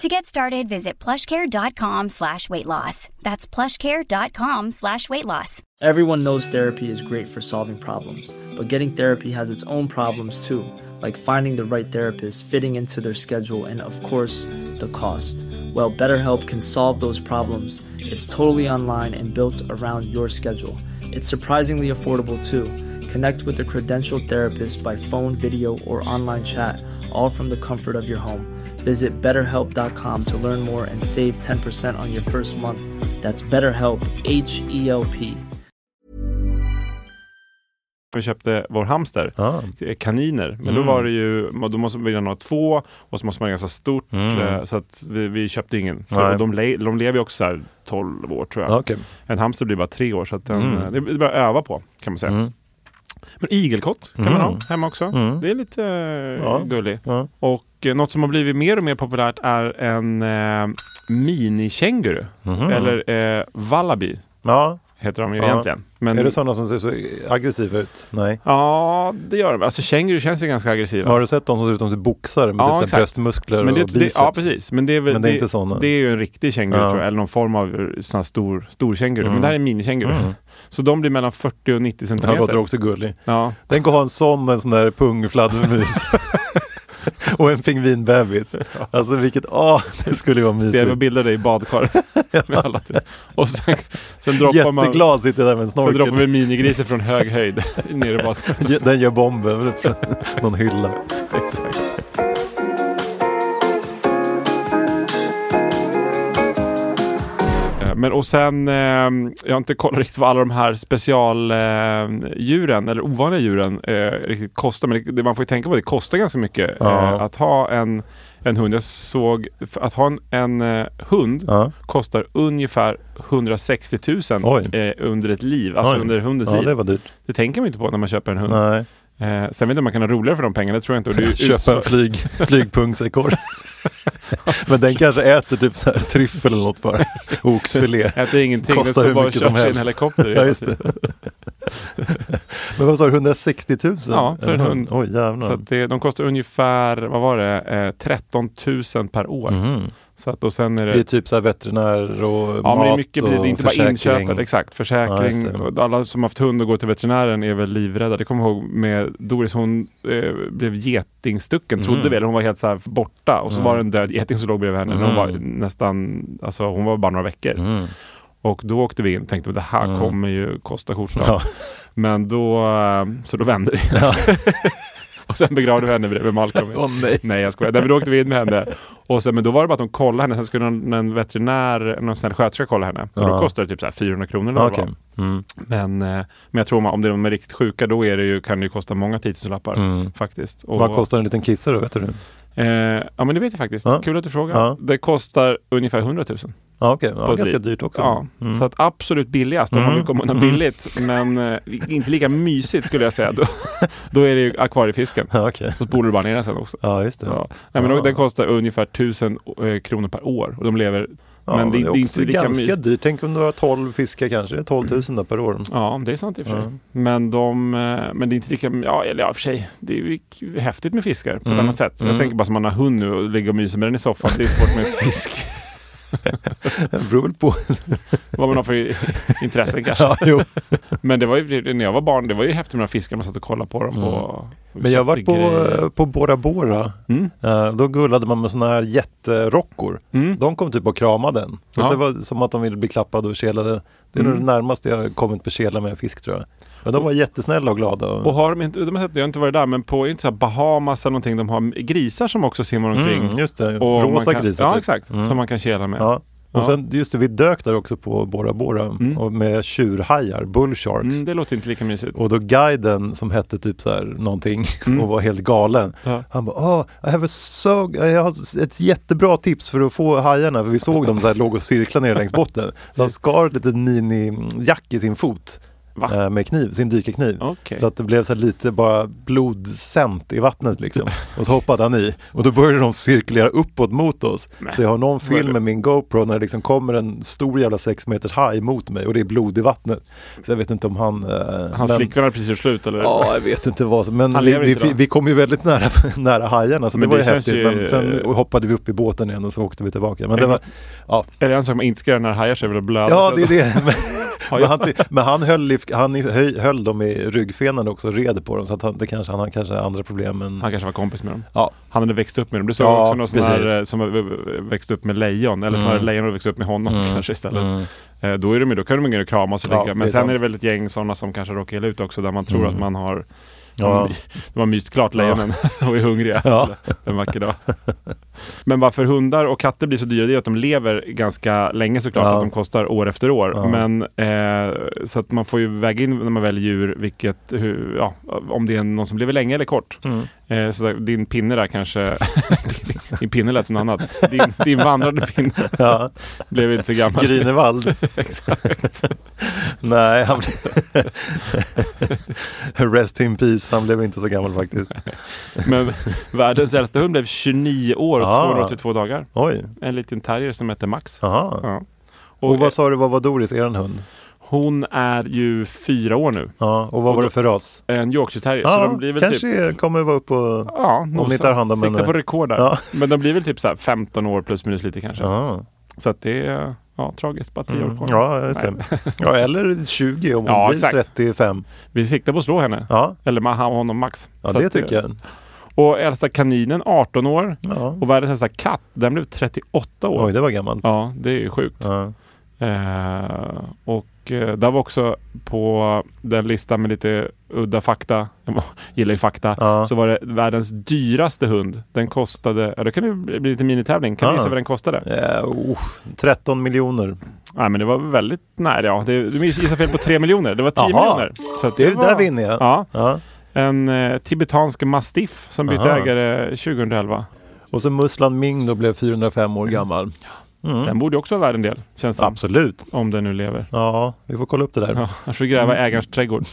D: To get started, visit plushcare.com slash weight loss. That's plushcare.com slash weight loss.
E: Everyone knows therapy is great for solving problems, but getting therapy has its own problems too, like finding the right therapist, fitting into their schedule, and of course, the cost. Well, BetterHelp can solve those problems. It's totally online and built around your schedule. It's surprisingly affordable too. Connect with a credentialed therapist by phone, video, or online chat, all from the comfort of your home. Visit betterhelp.com to learn more and save 10% on your first month. That's BetterHelp, H E L P.
B: vi köpte vår hamster,
A: Ja.
B: kaniner. Men
A: Mm.
B: då var det ju, då måste man ha två och så måste man ha ganska stort. eh, Så att vi, vi köpte ingen.
A: Mm. Nej.
B: För och de, le, de lever ju också så här 12 år tror jag.
A: Ja, okej. Mm.
B: En hamster blir bara tre år så att den, eh, det är bara att öva på kan man säga. Men igelkott kan man ha hemma också. Det är lite eh, gullig.
A: Mm. Ja.
B: Och eh, något som har blivit mer och mer populärt är en eh, minikänguru. Eller eh, wallaby
A: Ja.
B: heter de ju
A: Mhm. Ja.
B: egentligen. Men,
A: Är det sådana som ser så aggressiva ut? Nej.
B: Ja, det gör de. Alltså känguru känns ju ganska aggressiva.
A: Har du sett de som ser ut som typ boxare med
B: Ja,
A: typ så här
B: exakt.
A: bröstmuskler
B: Men det,
A: och biceps?
B: det, ja, precis. Men det är, väl,
A: Men det är inte såna.
B: Det är ju en riktig känguru
A: Ja.
B: tror jag, eller någon form av eh, sån här stor, stor känguru. Men det här är en minikänguru. Så de blir mellan 40 och 90
A: Den Mm. här låter
B: centimeter.
A: också gullig.
B: Ja,
A: Tänk att ha en sån, en sån där pungfladdermus. och en pingvinbebis. Alltså vilket, åh, det skulle ju vara
B: ser jag på
A: mysigt.
B: bilder där i badkaret. med alla typ. Och sen, sen droppar man...
A: Jätteglad sitter jag där med en
B: Sen droppar vi
A: snorkel.
B: minigrisen från hög höjd ner i badkaret.
A: Ge- Den gör bomben från någon hylla.
B: Exakt. Eh, Men och sen, eh, jag har inte kollat riktigt vad alla de här specialdjuren, eh, djuren, eller ovanliga djuren, eh, riktigt kostar. Men det, det man får ju tänka på, det kostar ganska mycket
A: Ja.
B: eh, att ha en, en hund. Jag såg, för att ha en, en eh, hund
A: Ja.
B: kostar ungefär 160 000
A: Oj.
B: eh, under ett liv. Alltså
A: Oj.
B: under hundens
A: Ja,
B: liv.
A: det
B: Det,
A: var dyrt.
B: tänker man ju inte på när man köper en hund.
A: Nej.
B: Eh, sen vet jag om man kan ha roligare för de pengarna, det tror jag inte. Och det är ju
A: Köpa en
B: utslag-
A: flyg, flygpungsekorre. Men den kanske äter typ så här tryffel eller något bara. Oxfilé.
B: Äter ingenting,
A: Kostar
B: Kostar
A: hur
B: så bara
A: mycket som
B: köper sig en
A: helst.
B: helikopter.
A: Ja, just det. Men vad sa du, 160 000?
B: Ja, för en hund.
A: Oj, jävlar.
B: Så att det, de kostar ungefär, vad var det, eh, 13 000 per år.
A: Mhm.
B: Så att, och sen är
A: Det är
B: det,
A: typ så här veterinär och
B: ja,
A: mat
B: men det är mycket,
A: och
B: blir det inte bara
A: försäkring.
B: inköpet, exakt.
A: Ja, just
B: Försäkring.
A: det.
B: och alla som haft hund och går till veterinären är väl livrädda. Det kommer jag ihåg med Doris, hon eh, blev getingstucken,
A: Mhm.
B: trodde vi. Eller hon var helt så här
A: Mm. Mhm.
B: borta och så var det en död geting som låg bredvid henne. Hon var nästan, alltså hon var bara några veckor. Och då åkte vi in och tänkte att det här
A: Mm.
B: kommer ju kosta skjortan.
A: Ja.
B: Men då, eh, så då vände vi. och sen begravde vi henne bredvid Malcolm.
A: nej.
B: Nej jag skojar. Nej, men då åkte vi in med henne. Och sen, men då var det bara att de kollade henne. Sen skulle någon, en veterinär, någon sån här sköterska kolla henne. Så
A: Ja.
B: då kostade det typ så här 400 kronor. eller vad det
A: Okej.
B: var.
A: Mm.
B: Men, eh, men jag tror man, om det är de är riktigt sjuka då är det ju, kan det ju kosta många tiotusenlappar.
A: Mm.
B: Faktiskt. Och,
A: Vad kostar en liten kissa då, vet du?
B: eh, Ja men det vet jag faktiskt.
A: Ja.
B: Kul att du frågar.
A: Ja.
B: Det kostar ungefär 100 000.
A: Ja, okej.
B: På
A: Ja,
B: ett
A: ganska
B: liv.
A: dyrt också.
B: Ja,
A: Mm.
B: så att absolut billigast om man
A: Mm.
B: vill komma undan
A: Mm.
B: billigt. Men eh, inte lika mysigt skulle jag säga. Då, då är det ju akvariefisken.
A: Ja, okej.
B: Så spolar du bara ner den sen också.
A: Ja, just det.
B: Ja. Nej, men
A: Ja.
B: de- Den kostar ungefär 1000 eh, kronor per år och de lever...
A: Ja,
B: men det, det är
A: också
B: inte lika
A: ganska
B: mysigt.
A: dyrt. Tänk om du har 12 fiskar kanske. Det är 12 000 då per år.
B: Ja, det är sant i och för sig.
A: Ja.
B: Men, de, eh, men det är inte lika... Ja, eller ja, i och för sig. Det är ju k- häftigt med fiskar på
A: Mm.
B: ett annat sätt.
A: Mm.
B: Jag tänker bara som man har hund nu och ligger och myser med den i soffan. Det är svårt med en fisk.
A: Det beror väl på.
B: Vad man har för i- intressen kanske.
A: ja, jo.
B: Men det var ju, när jag var barn, det var ju häftigt med de här fiskarna. Man satt och kollade på dem.
A: Mm.
B: På,
A: Men jag har varit på,
B: grejer.
A: eh, på Bora Bora.
B: Mm.
A: Eh, Då gullade man med sådana här jätterockor.
B: Mm.
A: De kom typ och kramade den. Så att
B: Ja. Mm.
A: det var som att de ville bli klappade och kelade. Det är nog det närmaste jag har kommit på kela med en fisk tror jag. Men de var jättesnälla och glada.
B: Och har de inte, de har sett, jag har inte varit där, men på inte så här Bahamas eller någonting, de har grisar som också simmar omkring.
A: mm, just det,
B: Och man
A: rosa
B: kan,
A: grisar.
B: Ja,
A: typ.
B: exakt.
A: Mm.
B: Som man kan kela med.
A: Ja. Och
B: Ja.
A: sen, just det, vi dök där också på Bora Bora
B: Mm.
A: och med tjurhajar, bullsharks.
B: Mm, det låter inte lika mysigt.
A: typ. Och då guiden som hette typ så här någonting
B: Mm.
A: och var helt galen.
B: Ja.
A: Han bara, oh, I have a so, jag har ett jättebra tips för att få hajarna. För vi såg dem så här låg och cirklade ner längs botten. Så han skar ett litet minijack i sin fot.
B: Va?
A: eh, Med kniv, sin dykarkniv.
B: Okej.
A: Så att det blev så här lite bara blodcent i vattnet liksom. Och så hoppade han i. Och då började de cirkulera uppåt mot oss. Så jag har någon film med min GoPro när det liksom kommer en stor jävla sex meters haj mot mig och det är blod i vattnet. Så jag vet inte om han... eh,
B: Hans
A: men-
B: flickvän har precis gjort slut eller?
A: Ja, jag vet inte vad som, men
B: Han
A: vi,
B: lever
A: vi,
B: inte
A: vi,
B: då?
A: vi kom ju väldigt nära, nära hajarna så
B: Men
A: det var ju
B: det känns
A: häftigt.
B: ju-
A: Men sen hoppade vi upp i båten igen och så åkte vi tillbaka. Men det var, ja,
B: Är det en sak man inte ska göra när hajar sig vill blöda?
A: ja
B: Så-
A: det är det. Men,
B: Ja,
A: men
B: ja.
A: han, ty- men han, höll, i- han i- höj- höll dem i ryggfenan också och red på dem så att han, det kanske, han har kanske andra problem. Men,
B: Han kanske var kompis med dem.
A: Mm. ja.
B: Han hade växt upp med dem. Du såg
A: Ja,
B: också någon sån här
A: precis. Mm.
B: eh, som eh, växte upp med lejon, eller snarare lejon hade växt upp med honom kanske istället. Eh, Då, är de, ju- då kan de ju kramas och
A: Ja,
B: ligga.
A: det är
B: Men sen
A: sant. Mm.
B: är det väl ett gäng sådana som kanske råkar illa ut också, där man tror att man har
A: Ja.
B: De har myst klart lejonen och är hungriga
A: Ja.
B: en vacker dag. Men varför hundar och katter blir så dyra, det är att de lever ganska länge såklart,
A: Ja.
B: att de kostar år efter år.
A: Ja.
B: Men, eh, så att man får ju väga in när man väljer djur, vilket, hur, ja, om det är någon som lever länge eller kort.
A: Mm.
B: Eh, så där, din pinne där kanske, din pinne lät som något annat. Din, din vandrande pinne
A: Ja,
B: blev inte så gammal.
A: Grinevald.
B: Exakt.
A: Nej, han blev... Rest in peace, han blev inte så gammal faktiskt.
B: Men världens äldsta hund blev 29 år och
A: Ah.
B: 282 dagar.
A: Oj,
B: En liten terrier som hette Max.
A: aha.
B: Ja. Och,
A: Och vad sa du, vad var Doris, eran hund?
B: Hon är ju fyra år nu.
A: Ja, och vad var det för ras?
B: En Yorkshire-terrier. så
A: Ja,
B: de blir väl
A: kanske
B: typ...
A: är- kommer vara upp och...
B: Ja, nosa.
A: ni tar hand om
B: Sikta
A: henne.
B: på rekord där.
A: Ja.
B: Men de blir väl typ så här 15 år plus minus lite kanske.
A: Ja.
B: Så att det är ja, tragiskt. Bara 10 år
A: Mm.
B: kvar.
A: Ja, just
B: Nej.
A: det. ja, eller 20 om hon
B: Ja,
A: blir
B: exakt.
A: 35.
B: Vi siktar på att slå henne.
A: Ja,
B: Eller ma- han- honom max.
A: ja
B: Så
A: det
B: att, eh,
A: tycker jag.
B: Och äldsta kaninen 18 år.
A: Ja.
B: Och världens äldsta katt, den blev 38 år.
A: Oj, det var gammalt.
B: Ja, det är ju sjukt.
A: Ja.
B: Eh, och eh, där var också på den listan med lite udda fakta, jag gillar ju fakta,
A: Ja.
B: så var det världens dyraste hund. Den kostade, ja det kan ju bli lite minitävling, kan
A: Ja.
B: du gissa vad den kostade?
A: Ja, Eh, uff, 13 miljoner.
B: Nej men det var väldigt nära, ja. Det, du gissade fel på 3 miljoner, det var 10
A: Jaha.
B: miljoner. Så att
A: Det,
B: var-
A: där vinner jag.
B: Ja,
A: Ja.
B: en eh, tibetansk mastiff som bytte
A: Aha.
B: ägare 2011.
A: Och så Muslan Ming då blev 405 år gammal.
B: Den borde ju också vara värd en del, känns det som.
A: Mm. Absolut.
B: Om den nu lever.
A: Ja, vi får kolla upp det där.
B: Ja, jag får gräva
A: Mm.
B: i ägarens trädgård.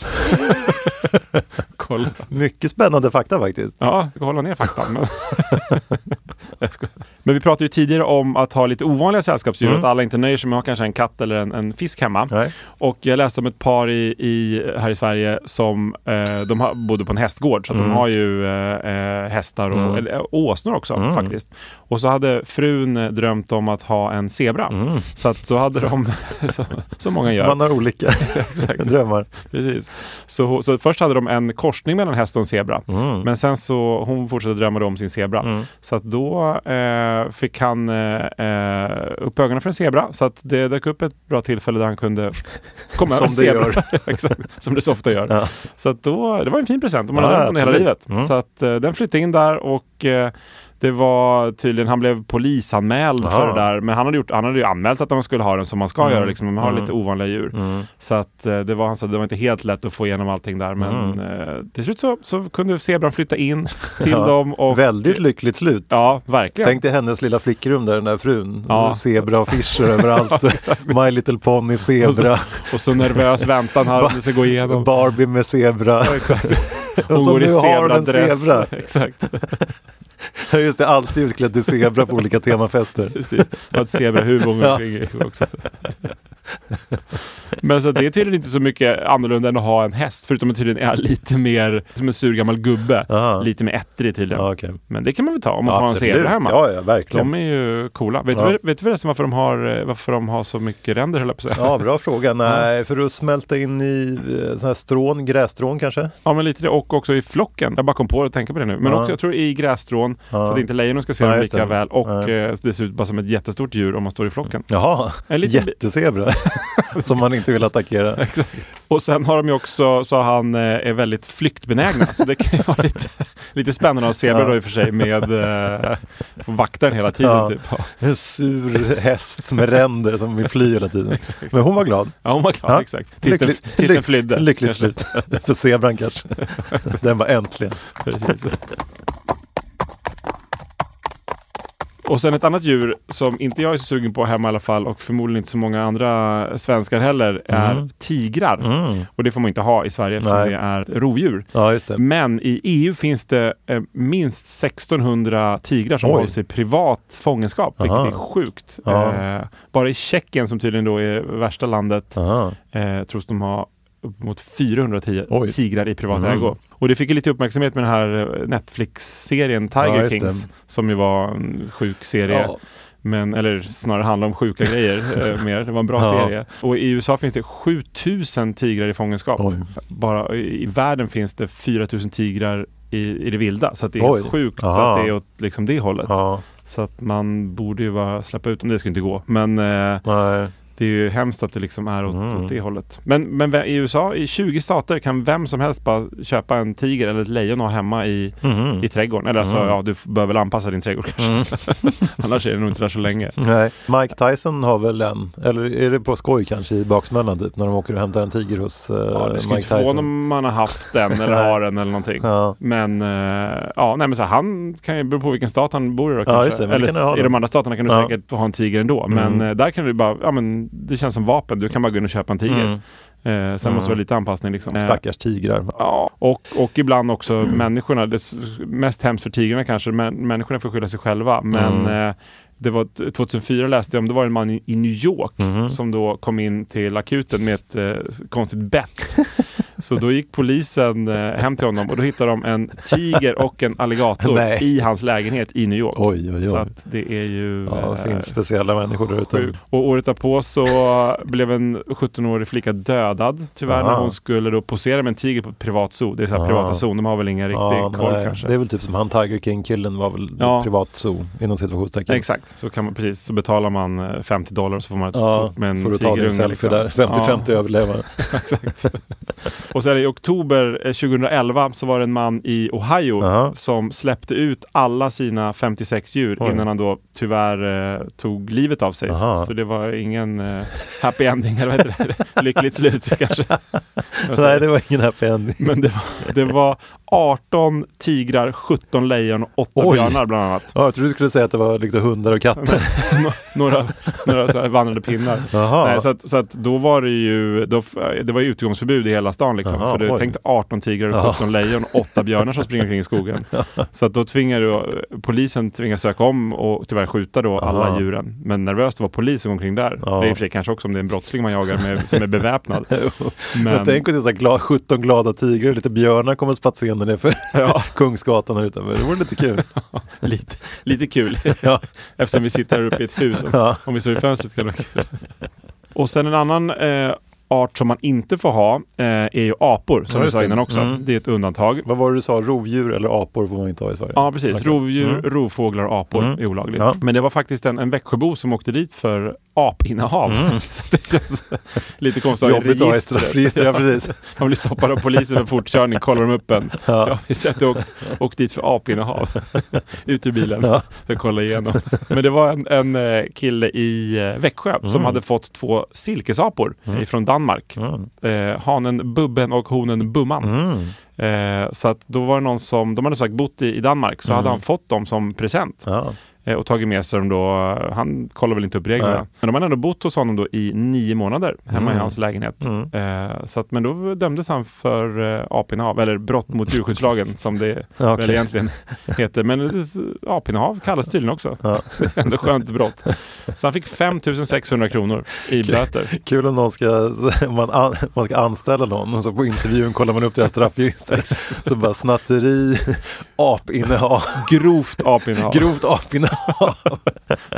B: Kolla.
A: Mycket spännande fakta faktiskt.
B: Ja, jag ska hålla ner faktan. Men... Jag skojar. men vi pratade ju tidigare om att ha lite ovanliga sällskapsdjur,
A: Mm.
B: att alla inte nöjer sig med att ha kanske en katt eller en, en fisk hemma.
A: Nej.
B: Och jag läste om ett par i, i, här i Sverige som eh, de har, bodde på en hästgård, så att de har ju eh, eh, hästar och
A: Mm.
B: eller, eh, åsnor också faktiskt. Och så hade frun eh, drömt om att ha en zebra. Så att då hade de, så, som många gör,
A: Mm. Man har olika drömmar.
B: Precis. Så, så först hade de en korsning
A: Mm.
B: mellan häst och en zebra. Men sen så, hon fortsatte drömma då om sin zebra. Så att då eh, eh, fick han eh, eh, upp ögonen för en zebra. Så att det dök upp ett bra tillfälle där han kunde komma
A: Som
B: över en
A: det
B: zebra.
A: gör.
B: Exakt, som det så ofta gör.
A: Ja.
B: Så att då, det var en fin present och man
A: Ja,
B: hade den hela
A: absolut.
B: livet.
A: Mm.
B: Så att eh, den flyttade in där och eh, det var tydligen, han blev polisanmäld
A: Aha.
B: för det där. Men han hade, gjort, han hade ju anmält att man skulle ha den som man ska
A: Mm.
B: göra, liksom, man har
A: Mm.
B: lite ovanliga djur. Så att eh, det var, han sa, det var inte helt lätt att få igenom allting där. Men eh, till slut så, så kunde zebran flytta in till
A: Mm. Ja.
B: dem. Och,
A: Väldigt lyckligt slut.
B: Ja, verkligen.
A: Tänk dig hennes lilla flickrum där, den där frun.
B: Ja.
A: Zebra och affischer överallt. My Little Pony zebra.
B: Och så nervös väntan här,
A: Ba-
B: det ska gå igenom.
A: Barbie med zebra. och
B: Hon
A: så
B: går i
A: nu har hon en
B: zebradress.
A: zebra.
B: Exakt,
A: Just det, alltid utklädd till zebra på olika temafester.
B: precis. Har ett zebrahuvud hon går
A: Ja.
B: omkring i också. Men så att det är tydligen inte så mycket annorlunda än att ha en häst, förutom att tydligen är lite mer som en sur gammal gubbe.
A: Aha.
B: Lite mer ettrig tydligen.
A: Ja, okej.
B: Men det kan man väl ta om man får ha en
A: Absolut.
B: zebra hemma.
A: Ja, ja, verkligen.
B: De är ju coola. Vet,
A: Ja.
B: du, vet du förresten varför de har, eh, varför de har så mycket ränder höll jag på att säga?
A: Ja, bra fråga. Nej, för att smälta in i eh, sån här strån, grässtrån kanske?
B: Ja men lite det och också i flocken. Jag bara kom på att tänka på det nu. Men
A: Ja.
B: också jag tror i grässtrån
A: Ja.
B: så att inte lejonen ska se
A: Nej,
B: dem
A: just
B: lika
A: det.
B: väl och
A: Nej.
B: eh, det ser ut bara som ett jättestort djur om man står i flocken.
A: Jaha,
B: En liten bi-
A: jättezebra som man inte vill attackera.
B: Och sen har de ju också, sa han, eh, är väldigt flyktbenägna. Så det kan ju vara lite, lite spännande att se
A: Ja.
B: ja. då i och för sig med eh, vaktaren hela tiden
A: Ja.
B: typ. Ja.
A: En sur häst med ränder som vill fly hela tiden. Men hon var glad.
B: Ja hon var klar,
A: Ja.
B: exakt. Tills, den,
A: Lycklig-
B: tills den
A: lyck-
B: flydde.
A: Lyckligt slut för zebran kanske. Den var äntligen.
B: Precis. Och sen ett annat djur som inte jag är så sugen på hemma i alla fall och förmodligen inte så många andra svenskar heller är tigrar. Och det får man inte ha i Sverige eftersom
A: Mm. Nej.
B: det är ett rovdjur.
A: Ja, just det.
B: Men i EU finns det eh, minst 1600 tigrar som
A: Oj.
B: hålls i privat fångenskap, vilket
A: Aha.
B: är sjukt.
A: Ja.
B: Eh, bara i Tjeckien, som tydligen då är värsta landet,
A: Aha.
B: eh, tros de ha upp mot 410
A: Oj.
B: tigrar i privat
A: Mm.
B: ägo. Och det fick ju lite uppmärksamhet med den här eh, Netflix-serien
A: Ja,
B: Tiger
A: just
B: Kings,
A: det.
B: som ju var en sjuk serie.
A: Ja.
B: Men, eller snarare handlar om sjuka grejer eh, mer. Det var en bra
A: Ja.
B: serie. Och i USA finns det 7000 tigrar i fångenskap.
A: Oj.
B: Bara i i världen finns det 4000 tigrar i, i det vilda. Så att det är
A: Oj.
B: helt sjukt
A: Aha.
B: att det är åt liksom det hållet.
A: Ja,
B: Så att man borde ju bara släppa ut dem. Det skulle inte gå. Men eh,
A: nej.
B: det är ju hemskt att det liksom är åt,
A: Mm.
B: åt det hållet. Men, men vä- i USA, i 20 stater kan vem som helst bara köpa en tiger eller ett lejon och ha hemma i,
A: Mhm.
B: i trädgården. Eller alltså,
A: Mm.
B: ja, du f- bör väl anpassa din trädgård kanske. Annars är det nog inte där så länge.
A: Nej. Mike Tyson har väl en, eller är det på skoj kanske i baksmällan typ när de åker och hämtar en tiger hos eh,
B: Ja, det
A: Mike
B: skulle inte förvåna
A: Tyson?
B: om man har haft den eller
A: Nej.
B: har den eller någonting.
A: Ja.
B: Men eh, ja, nej, men så här, han kan ju bero på vilken stat han bor i då,
A: just
B: kanske.
A: det, men
B: Eller
A: kan du ha
B: s- i
A: den.
B: de andra staterna kan du
A: Ja.
B: säkert ha en tiger ändå. Men
A: Mm.
B: eh, där kan du bara, ja men det känns som vapen. Du kan bara gå in och köpa en tiger.
A: Mm.
B: Eh, sen
A: Mm.
B: måste det vara lite anpassning liksom. Eh,
A: Stackars tigrar.
B: Ja, och, och ibland också människorna. Det s- mest hemskt för tigrarna kanske, men människorna får skylla sig själva. Men
A: Mm.
B: eh, det var t- 2004 läste jag om, det var en man i, i New York
A: Mhm.
B: som då kom in till akuten med ett eh, konstigt bett. Så då gick polisen eh, hem till honom och då hittade de en tiger och en alligator
A: Nej.
B: i hans lägenhet i New York.
A: Oj, oj, oj.
B: Så att det är ju...
A: Ja, det
B: eh,
A: finns speciella människor där ute.
B: Sjukt. Och året därpå så blev en 17-årig flicka dödad tyvärr
A: Aha.
B: när hon skulle då posera med en tiger på ett privat zoo. Det är så här
A: Ah.
B: privata zoo, de har väl ingen riktig koll
A: nej.
B: kanske.
A: Det är väl typ som han Tiger King-killen var väl
B: Ja.
A: privat zoo inom situationstecken.
B: Exakt, så, kan man, precis, så betalar man eh, 50 dollar och så får man ett
A: Ja,
B: kort med en
A: får du ta
B: tigerunge,
A: din selfie
B: liksom.
A: där. 50-50
B: Ja,
A: överleva.
B: exakt. och sen i oktober eh, 2011 så var det en man i Ohio
A: Aha.
B: som släppte ut alla sina 56 djur
A: Oj.
B: innan han då tyvärr eh, tog livet av sig.
A: Aha.
B: Så det var ingen eh, happy ending, eller vad heter det? Lyckligt slut kanske. Vad säger
A: Nej,
B: jag?
A: det var ingen happy ending.
B: Men det var, det var 18 tigrar, 17 lejon och 8
A: Oj.
B: björnar bland annat.
A: Ja, jag trodde du skulle säga att det var liksom hundar och katter.
B: Några, några så här vandrande pinnar.
A: Jaha.
B: Nej, så att, så att då var det ju då, f- det var ju utegångsförbud i hela stan. Liksom.
A: Jaha,
B: för du
A: oj.
B: tänkte 18 tigrar och 17 lejon och 8 björnar som springer omkring i skogen. Så att då tvingar du, polisen tvingas söka om och tyvärr skjuta då alla
A: Aha.
B: djuren. Men nervöst att vara polis som går omkring där.
A: Ja.
B: Det är i och för sig kanske också om det är en brottsling man jagar med, som är beväpnad. Men,
A: Men tänk att det är så här gla- 17 glada tigrar och lite björnar kommer spatserande ner för
B: Ja.
A: Kungsgatan här utanför. Det vore lite kul.
B: lite, lite kul.
A: Ja.
B: Eftersom vi sitter här uppe i ett hus. Om,
A: Ja.
B: om vi står i fönstret kan det vara kul. Och sen en annan eh, art som man inte får ha eh, är ju apor, som
A: Ja,
B: vi
A: just
B: sa
A: det.
B: innan också.
A: Mm.
B: Det är ett undantag.
A: Vad var det du sa, rovdjur eller apor får man inte ha i Sverige?
B: Ja, precis.
A: Okej.
B: Rovdjur,
A: Mm.
B: rovfåglar och apor
A: Mm.
B: är olagligt.
A: Ja.
B: Men det var faktiskt en, en Växjöbo som åkte dit för apinnehav.
A: Mm.
B: Så det känns lite konstigt att ha i
A: Jobbigt att ha i
B: registret.
A: straffregistret,
B: Ja, precis. Han blir stoppad av polisen för fortkörning, kollar de upp en. Ja, vi ser att du åkt, åkt dit för apinnehav. Ut ur bilen för att kolla igenom. Men det var en, en eh, kille i eh, Växjö
A: Mm.
B: som hade fått två silkesapor från Danmark.
A: Mm.
B: Eh, hanen Bubben och honen Bumman. Eh, så att då var det någon som, de hade sagt bott i, i Danmark,
A: Mm.
B: så hade han fått dem som present.
A: Ja.
B: Eh, och tagit med sig dem då, han kollar väl inte upp reglerna.
A: Nej.
B: Men de hade ändå bott hos honom då i nio månader hemma i
A: Mm.
B: hans lägenhet. Eh, så att, men då dömdes han för eh, apinnehav, eller brott mot djurskyddslagen som det
A: Ja,
B: väl
A: okej.
B: egentligen heter. Men eh, s- apinnehav kallas tydligen också. Ändå skönt brott. Så han fick 5 600 kronor i böter.
A: Kul om någon ska, om man, an, man ska anställa någon och så på intervjun kollar man upp deras straffregister. så bara snatteri, apinnehav,
B: Grovt apinnehav.
A: grovt apinnehav.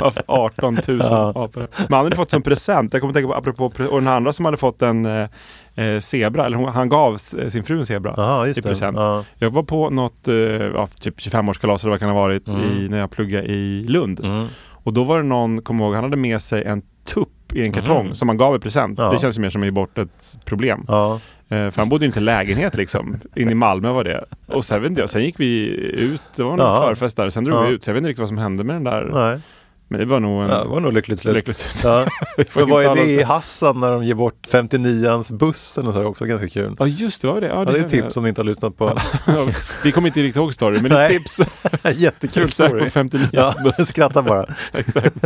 B: av 18 000
A: Ja.
B: apor. Men han hade fått som present, jag kommer tänka på apropå, pre- och den andra som hade fått en eh, eh, zebra, eller hon, han gav s- eh, sin fru en zebra
A: Ja, just
B: i
A: det.
B: present.
A: Ja.
B: Jag var på något, eh, ja, typ 25-årskalas eller vad det kan ha varit,
A: Mm.
B: i, när jag pluggade i Lund. Och då var det någon, kommer jag ihåg, han hade med sig en tupp i en kartong som han gav i present.
A: Mm. Ja.
B: Det känns ju mer som att ge bort ett problem.
A: Ja.
B: Eh, För han bodde ju inte i lägenhet liksom. In i Malmö var det. Och sen vet inte jag, sen gick vi ut, det var en
A: Ja.
B: förfest där, sen drog
A: Ja.
B: vi ut. Så jag vet inte riktigt vad som hände med den där.
A: Nej.
B: Men det var nog en...
A: Ja, det var nog lyckligt slut.
B: Lyckligt slut.
A: Ja.
B: Vi får
A: Men vad
B: inte
A: är det
B: tala om
A: i Hassan när de ger bort 59ans bussen och så här också? Ganska kul.
B: Ja just det, var det. Ja,
A: Ja, det är ett
B: känner
A: tips som ni inte har lyssnat på.
B: jag. Ja, Vi kommer inte riktigt ihåg storyn, men det är
A: Nej.
B: tips.
A: Jättekul
B: Sök på
A: story.
B: 59
A: Ja, skratta bara.
B: Exakt.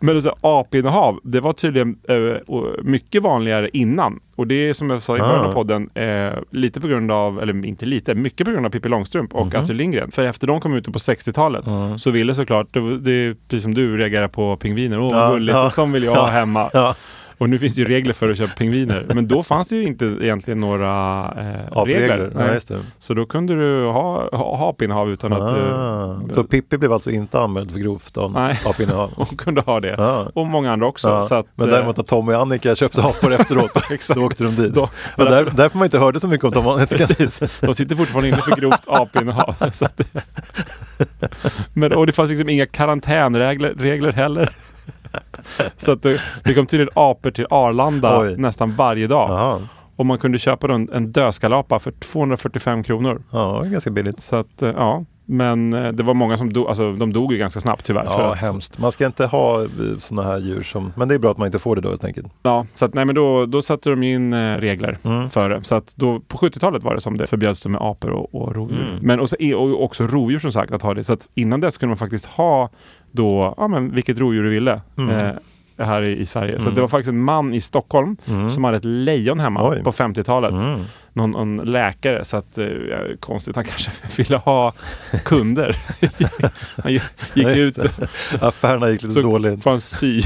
B: Men alltså, apinnehav, det var tydligen eh, och mycket vanligare innan. Och det är som jag sa i början av
A: Ah.
B: podden, eh, lite på grund av, eller inte lite, mycket på grund av Pippi Långstrump och
A: Mhm.
B: Astrid Lindgren. För efter de kom ut på 60-talet
A: Ah.
B: så ville såklart, det, var- det är precis som du reagerar på pingviner, åh vad
A: Ja,
B: gulligt,
A: ja.
B: och sån vill jag ha
A: Ja,
B: hemma.
A: ja.
B: Och nu finns det ju regler för att köpa pingviner, men då fanns det ju inte egentligen några eh,
A: Apregler.
B: regler.
A: Ja, just det.
B: Så då kunde du ha, ha, ha apinnehav utan att...
A: Ah.
B: eh,
A: Så Pippi blev alltså inte anmäld för grovt an-
B: Nej.
A: apinnehav?
B: Hon kunde ha det.
A: Ja.
B: Och många andra också.
A: Ja.
B: Så att, eh,
A: men däremot när Tommy och Annika köpte apor efteråt, då åkte de dit.
B: Då-
A: och där, därför man inte hörde så mycket om Tommy och Annika.
B: Precis, de sitter fortfarande inne för grovt apinnehav. Så att, men, och det fanns liksom inga karantänregler regler heller. Så att det, det kom tydligen apor till Arlanda
A: Oj.
B: nästan varje dag.
A: Jaha.
B: Och man kunde köpa då en, en dödskalapa för 245 kronor.
A: Ja, det är ganska billigt.
B: Så att, eh, ja. Men eh, det var många som dog, alltså de dog ju ganska snabbt tyvärr. för
A: Ja,
B: att,
A: hemskt. Man ska inte ha sådana här djur som... Men det är bra att man inte får det då helt enkelt.
B: Ja, så att, nej, men då, då satte de ju in eh, regler
A: Mm.
B: för det. Så att då, på 70-talet var det som det förbjöds det med apor och, och rovdjur.
A: Mm.
B: Men och, så, är- och också rovdjur som sagt att ha det. Så att innan dess kunde man faktiskt ha då, ja, men vilket rovdjur du ville.
A: Mm.
B: Eh, här i, i Sverige. Så att det var faktiskt en man i Stockholm som hade ett lejon hemma
A: Mm. Oj. Mm.
B: på 50-talet. Någon, någon läkare, så att eh, konstigt, han kanske ville ha kunder. han gick gick
A: Ja,
B: ut
A: just det. Affärerna gick lite
B: så
A: dåligt.
B: får han sy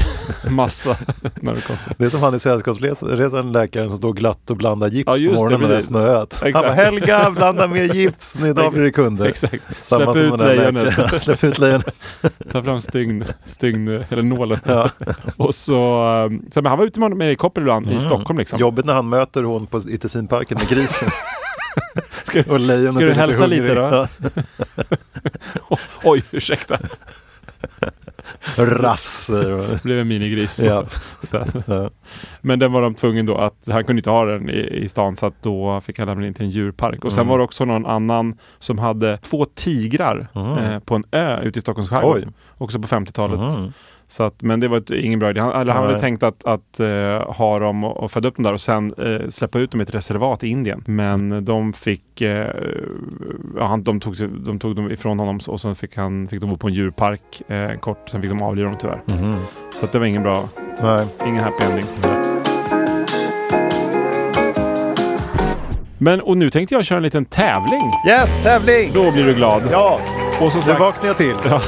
B: massa när det kom.
A: Det är som han i Sällskapsresan, läkaren som står glatt och blandar gips
B: Ja, just
A: på
B: det,
A: morgonen när det har
B: precis.
A: snöat. Han
B: Exakt.
A: bara, Helga, blanda mer gips, nu idag blir det kunder.
B: Exakt.
A: Samma
B: Släpp
A: som
B: ut
A: den där
B: lejonet.
A: läkaren. Släpp ut lejonet.
B: Ta fram stygn, stygn eller nålen. Och så, um, så men han var ute med med helikopter ibland i Stockholm liksom.
A: Mm. Jobbigt när han möter hon på, i Tessinparken med grisen.
B: Ska,
A: Och lejonet
B: Ska du
A: är lite
B: hälsa lite
A: hungrig.
B: då? o- oj, ursäkta.
A: Ja. Rafs, säger hon.
B: Det blev en minigris.
A: Ja.
B: Så.
A: Ja.
B: Men den var de tvungna då att, han kunde inte ha den i, i stan så att då fick han lämna in till en djurpark.
A: Mm.
B: Och sen var det också någon annan som hade två tigrar eh, på en ö ute i Stockholms skärgård.
A: Mm. Oj. Mm.
B: Också på 50-talet. Så att, men det var ett, ingen bra idé. Han, eller han
A: Nej.
B: hade tänkt att, att eh, ha dem och, och föda upp dem där och sen eh, släppa ut dem i ett reservat i Indien. Men de fick, eh, ja, han, de, tog, sig- de tog dem ifrån honom och sen fick, han, fick de bo på en djurpark eh, en kort. Sen fick de avliva dem tyvärr. Så att det var ingen bra,
A: Nej.
B: ingen happy ending. Men och nu tänkte jag köra en liten tävling.
A: Yes, tävling!
B: Då blir du glad.
A: Ja,
B: Och som
A: nu
B: sagt,
A: vaknar jag till.
B: Ja,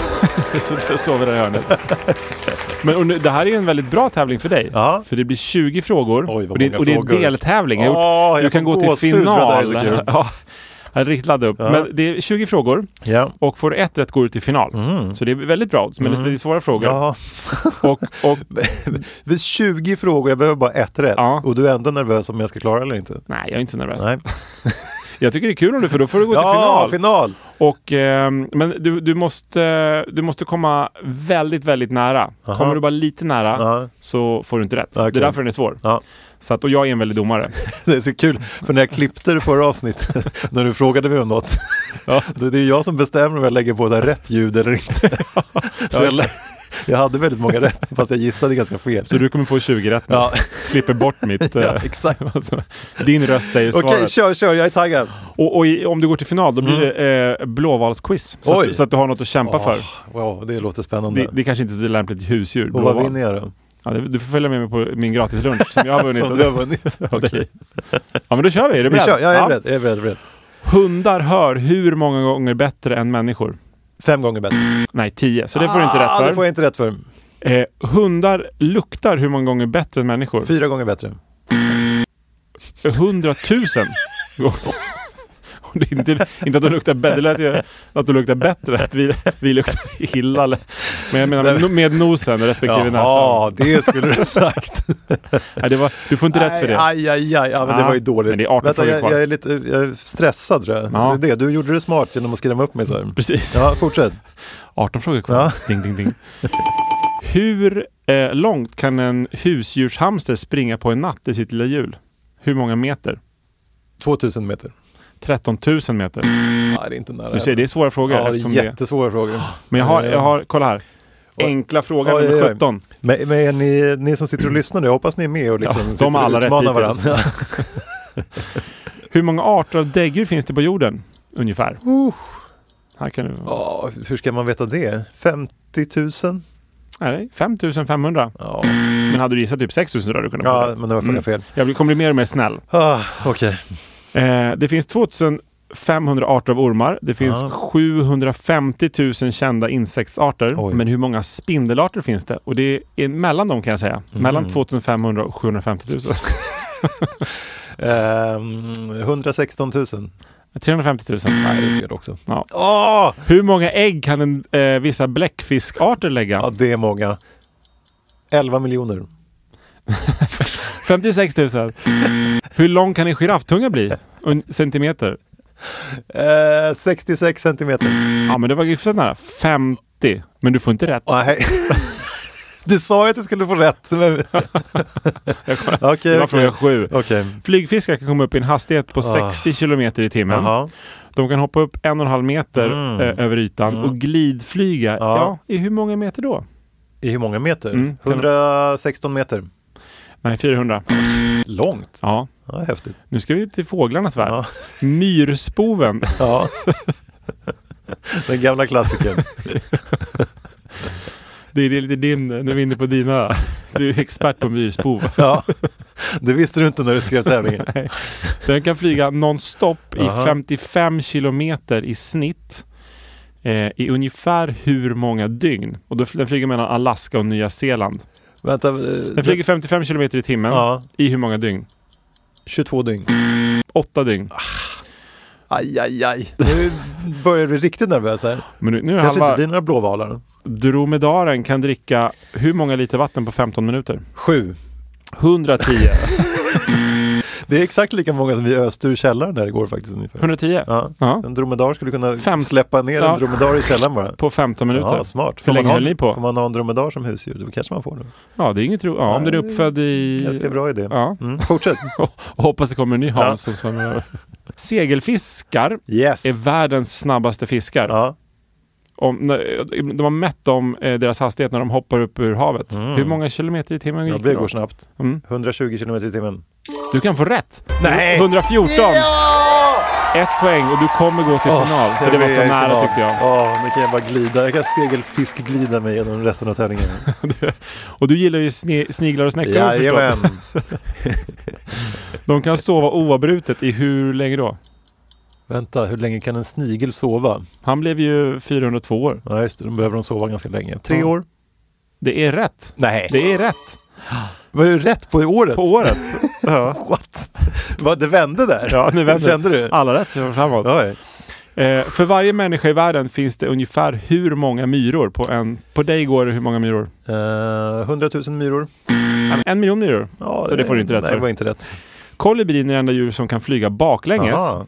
B: Typ så där sover det i hörnet. Men och nu, det här är ju en väldigt bra tävling för dig.
A: Ja.
B: För det blir 20 frågor.
A: Oj, vad
B: och, det,
A: många
B: och det är en
A: frågor.
B: deltävling. Jag har gjort-
A: Åh, jag
B: du kan
A: får
B: gå till
A: gåshud för att det här är
B: final.
A: så kul.
B: Ja. Jag riktigt laddad upp.
A: Ja.
B: Men det är 20 frågor
A: Ja.
B: och får du ett rätt går du till final.
A: Mm.
B: Så det är väldigt bra odds, men det är lite svåra frågor.
A: Ja,
B: Och, och,
A: vi har 20 frågor, jag behöver bara ett rätt.
B: Ja.
A: Och du är ändå nervös om jag ska klara eller inte.
B: nej, jag är inte så nervös.
A: Nej.
B: Jag tycker det är kul om du, för då får du gå till
A: Ja,
B: final.
A: final!
B: Och, ehm, men du, du, måste, du måste komma väldigt, väldigt nära.
A: Aha.
B: Kommer du bara lite nära
A: Ja.
B: så får du inte rätt.
A: Okej.
B: Det är därför den är svår.
A: Ja.
B: Så att, och jag är en väldig domare.
A: Det är så kul, för när jag klippte det förra avsnittet, när du frågade mig om något,
B: Ja.
A: då det är jag som bestämmer om jag lägger på det här rätt ljud eller inte. Så jag, jag hade väldigt många rätt, fast jag gissade ganska fel.
B: Så du kommer få 20 rätt nu.
A: Ja.
B: Klipper bort mitt... eh,
A: Ja, exakt.
B: alltså, din röst säger
A: Okej,
B: svaret.
A: kör, kör, jag är taggad.
B: Och, och i, om du går till final, då blir det eh, blåvalsquiz. Så
A: Oj.
B: att, så att du har något att kämpa för.
A: Åh, wow, det låter spännande.
B: Det, det är kanske inte är så lämpligt husdjur.
A: Och
B: blåval.
A: vad vinner jag då?
B: Ja, det- du får följa med mig på min gratislunch som jag har vunnit.
A: Som du har vunnit.
B: Ja, det- Ja, men då kör vi. Är du
A: Vi
B: beredd?
A: kör, jag är
B: Ja.
A: beredd. Jag är beredd, beredd.
B: Hundar hör hur många gånger bättre än människor?
A: Fem gånger bättre.
B: Nej, tio. Så det får du inte
A: Ah, det får
B: rätt för.
A: jag inte rätt för.
B: Eh, hundar luktar hur många gånger bättre än människor?
A: Fyra gånger bättre.
B: Hundratusen gånger. Och det är inte, inte att de luktar bättre, det lät ju att de luktar bättre, att vi, vi luktar illa. Men jag menar med, med nosen respektive näsan.
A: Jaha, det skulle du ha sagt.
B: Nej, det var, du får inte rätt för det.
A: Aj, aj, aj. Ja, men det
B: Ah,
A: var ju dåligt.
B: men det är 18
A: Vänta,
B: frågor
A: jag,
B: kvar.
A: jag, är lite, jag är stressad tror jag.
B: Ja.
A: Det är det. Du gjorde det smart genom att skrämma upp mig så här.
B: Precis.
A: Ja, fortsätt.
B: 18 frågor kvar.
A: Ja.
B: Ding, ding, ding. Hur eh, långt kan en husdjurshamster springa på en natt i sitt lilla hjul? Hur många meter?
A: 2000 meter.
B: 13 000 meter.
A: Ja, det är inte nära.
B: Du ser, det är svåra frågor.
A: Ja, det är
B: eftersom det
A: jättesvåra frågor.
B: Men jag har, jag har, kolla här. Enkla fråga
A: Oj, oj,
B: nummer
A: oj.
B: 17.
A: Eh, Men, men är ni, ni som sitter och lyssnar nu, jag hoppas ni är med och liksom
B: Mm. Ja, de
A: sitter
B: har alla
A: och
B: rätt
A: utmanar
B: hittills.
A: varandra.
B: Hur många arter av däggdjur finns det på jorden? Ungefär. Här kan du...
A: Ja, hur ska man veta det? 50 000?
B: Nej, 5500.
A: Ja,
B: Men hade du gissat typ 6000 så hade du kunnat få
A: ja
B: rätt.
A: men det var frågan
B: Mm.
A: fel.
B: Jag blir- kommer bli mer och mer snäll.
A: Ah, Okej.
B: Eh, det finns 2500 arter av ormar. Det finns
A: Ja.
B: 750 000 kända insektsarter.
A: Oj.
B: Men hur många spindelarter finns det? Och det är mellan dem kan jag säga.
A: Mm.
B: Mellan 2500 och 750 000.
A: Ehm, 116 000.
B: 350 000.
A: Nej, det är fel också. Ah!
B: Ja.
A: Åh!
B: Hur många ägg kan en, eh, vissa bläckfiskarter lägga?
A: Ja, det är många. 11 miljoner.
B: 56 000. Hur lång kan en girafftunga bli? Un centimeter?
A: Eh, 66 centimeter.
B: Ja, men det var hyfsat nära. 50. Men du får inte rätt.
A: Nej. Ah, Du sa ju att du skulle få rätt. Men...
B: Det
A: Okej,
B: var
A: okej.
B: fråga sju.
A: Okej.
B: Flygfiskar kan komma upp i en hastighet på 60 kilometer i timmen.
A: Jaha. Mm.
B: De kan hoppa upp en och en halv meter eh, över ytan och glidflyga. Ja. i hur många meter då?
A: I hur många meter?
B: Mm.
A: 116 meter.
B: Nej, 400.
A: Långt.
B: Ja,
A: Ja, häftigt.
B: nu ska vi till fåglarnas värld.
A: Ja.
B: Myrspoven.
A: Ja. Den gamla klassikern.
B: Det är lite din, nu är vi inne på dina. Du är expert på myrspov.
A: Ja. Det visste du inte när du skrev tävlingen.
B: Den kan flyga nonstop i
A: Aha.
B: 55 kilometer i snitt eh, i ungefär hur många dygn? Och då fl- den flyger mellan Alaska och Nya Zeeland.
A: Vänta. eh,
B: Den flyger 55 kilometer i timmen
A: Ja.
B: i hur många dygn?
A: 22 dygn.
B: Åtta dygn.
A: Ah, Aj, aj, aj. Nu börjar du riktigt nervös här.
B: Men nu, nu är
A: Kanske
B: halva
A: inte blir några blåvalar.
B: dromedaren kan dricka hur många liter vatten på 15 minuter?
A: Sju.
B: 110.
A: Det är exakt lika många som vi öste ur källaren här igår faktiskt. Ungefär.
B: 110
A: Ja.
B: Ja.
A: En dromedar skulle kunna
B: Fem-
A: släppa ner
B: Ja.
A: en dromedar i källaren bara.
B: på 15 minuter.
A: Ja, smart.
B: Hur länge
A: man ha,
B: höll ni på?
A: Får man ha en dromedar som husdjur? Det kanske man får. Då.
B: Ja, det är inget ro. Ja, om den är uppfödd i...
A: Ganska bra idé.
B: Ja.
A: Mm. Fortsätt.
B: Och hoppas det kommer en ny Hans
A: Ja.
B: som svämmar över. Segelfiskar
A: Yes.
B: är världens snabbaste fiskar.
A: Ja.
B: Om, när- de har mätt dem, eh, deras hastighet när de hoppar upp ur havet. Hur många kilometer i timmen
A: Mm. ja,
B: gick det
A: det
B: då?
A: går snabbt.
B: Mm.
A: 120 km i timmen.
B: Du kan få rätt!
A: Nej!
B: 114! Ett poäng och du kommer gå till final. För det var så nära tyckte jag.
A: Ja, nu kan jag bara glida. Jag kan segelfiskglida mig genom resten av tävlingen.
B: Och du gillar ju sne- sniglar och snäckor har jag förstått.
A: Jajamän.
B: De kan sova oavbrutet i hur länge då?
A: Vänta, hur länge kan en snigel sova?
B: Han blev ju 402 år.
A: Ja, just det. Då behöver de sova ganska länge. Mm. Tre
B: Ja.
A: år?
B: Det är rätt.
A: Nej.
B: Det är rätt.
A: Var du rätt på året?
B: På året.
A: Ja. What? Vad, det vände där.
B: Ja, nu vänder
A: Kände du?
B: Alla rätt framåt.
A: Oj.
B: Eh, för varje människa i världen finns det ungefär hur många myror på en... På dig går det hur många myror?
A: Eh, 100 000 myror.
B: Ja, men En miljon myror.
A: Ja,
B: Så det får du inte rätt
A: nej,
B: för.
A: det var inte rätt.
B: Kolibrin är det enda djur som kan flyga baklänges.
A: Aha.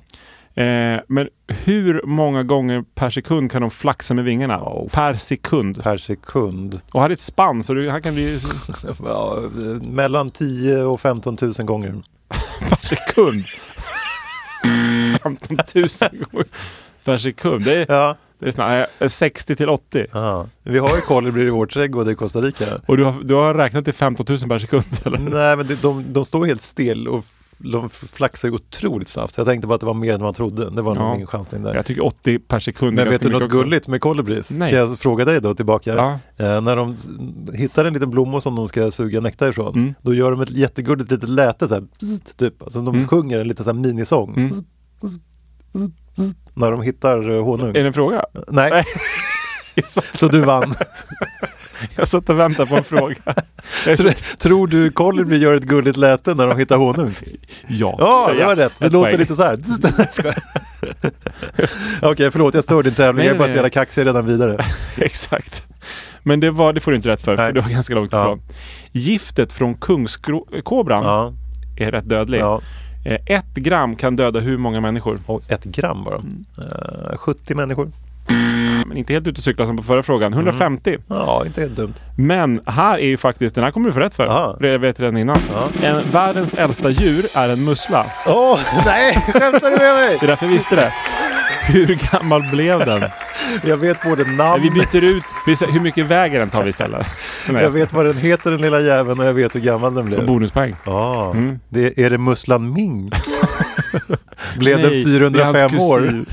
B: Eh, men hur många gånger per sekund kan de flaxa med vingarna? Per sekund.
A: Per sekund.
B: Och här är ett spann så du, här kan bli
A: Ja, eh, mellan 10 000 och 15 000 gånger.
B: per sekund. 15 000 gånger per sekund. Det är,
A: Ja.
B: det är snarare eh, 60 till 80.
A: Ja. Vi har ju kolibrir i vår trädgård i Costa Rica.
B: Och du har, du har räknat till 15 000 per sekund eller?
A: Nej, men det, de, de står helt still och f- de flaxar ju otroligt snabbt. Så jag tänkte bara att det var mer än man trodde. Det var nog
B: Ja.
A: min chansning där.
B: Jag tycker 80 per sekund är
A: Men vet
B: ganska
A: du något
B: mycket också.
A: gulligt med kolibris?
B: Nej.
A: Kan jag fråga dig då tillbaka?
B: Ja.
A: Eh, när de s- hittar en liten blomma som de ska suga nektar ifrån,
B: Mm.
A: då gör de ett jättegulligt litet läte så här, pssst, typ. Alltså de
B: Mm.
A: sjunger en liten så här minisång. Zzz, zzz, zzz, zzz, när de hittar eh, honung.
B: Är det en fråga?
A: Nej. så du vann.
B: Jag satt och väntade på en fråga. Jag är så-
A: Tr- Tror du kolibri gör ett gulligt läte när de hittar honung?
B: Ja,
A: Ja, det var rätt. Det
B: Ett
A: låter
B: poäng.
A: lite så här. Zzz, jag skojar. Okej, förlåt, jag stör din tävling.
B: Nej,
A: Jag är bara
B: nej,
A: så jävla
B: nej.
A: kaxig redan vidare.
B: Exakt. Men det, var, det får du inte rätt för,
A: Nej.
B: för det var ganska långt
A: Ja.
B: ifrån. Giftet från kungskobran
A: Ja,
B: är rätt dödligt.
A: ja.
B: Eh, Ett gram kan döda hur många människor?
A: Och ett gram bara.
B: Mm.
A: Eh, 70 människor.
B: Men inte helt ute och cykla som på förra frågan.
A: Mm.
B: 150.
A: Ja, inte helt dumt.
B: Men här är ju faktiskt, den här kommer du få rätt för.
A: Ja.
B: Jag vet redan innan. En, världens äldsta djur är en mussla.
A: Åh, nej! Skämtar du med mig?
B: Det är därför jag visste det. Hur gammal blev den?
A: Jag vet både
B: Ja,
A: namn,
B: Vi byter ut, vi säger, hur mycket väger den tar vi istället? Nej,
A: jag vet vad den heter den lilla jäveln och jag vet hur gammal den blev.
B: Bonuspoäng.
A: Ja,
B: Mm.
A: det, är det musslan Ming? blev
B: Nej,
A: den
B: det är hans
A: 405 år?
B: kusin.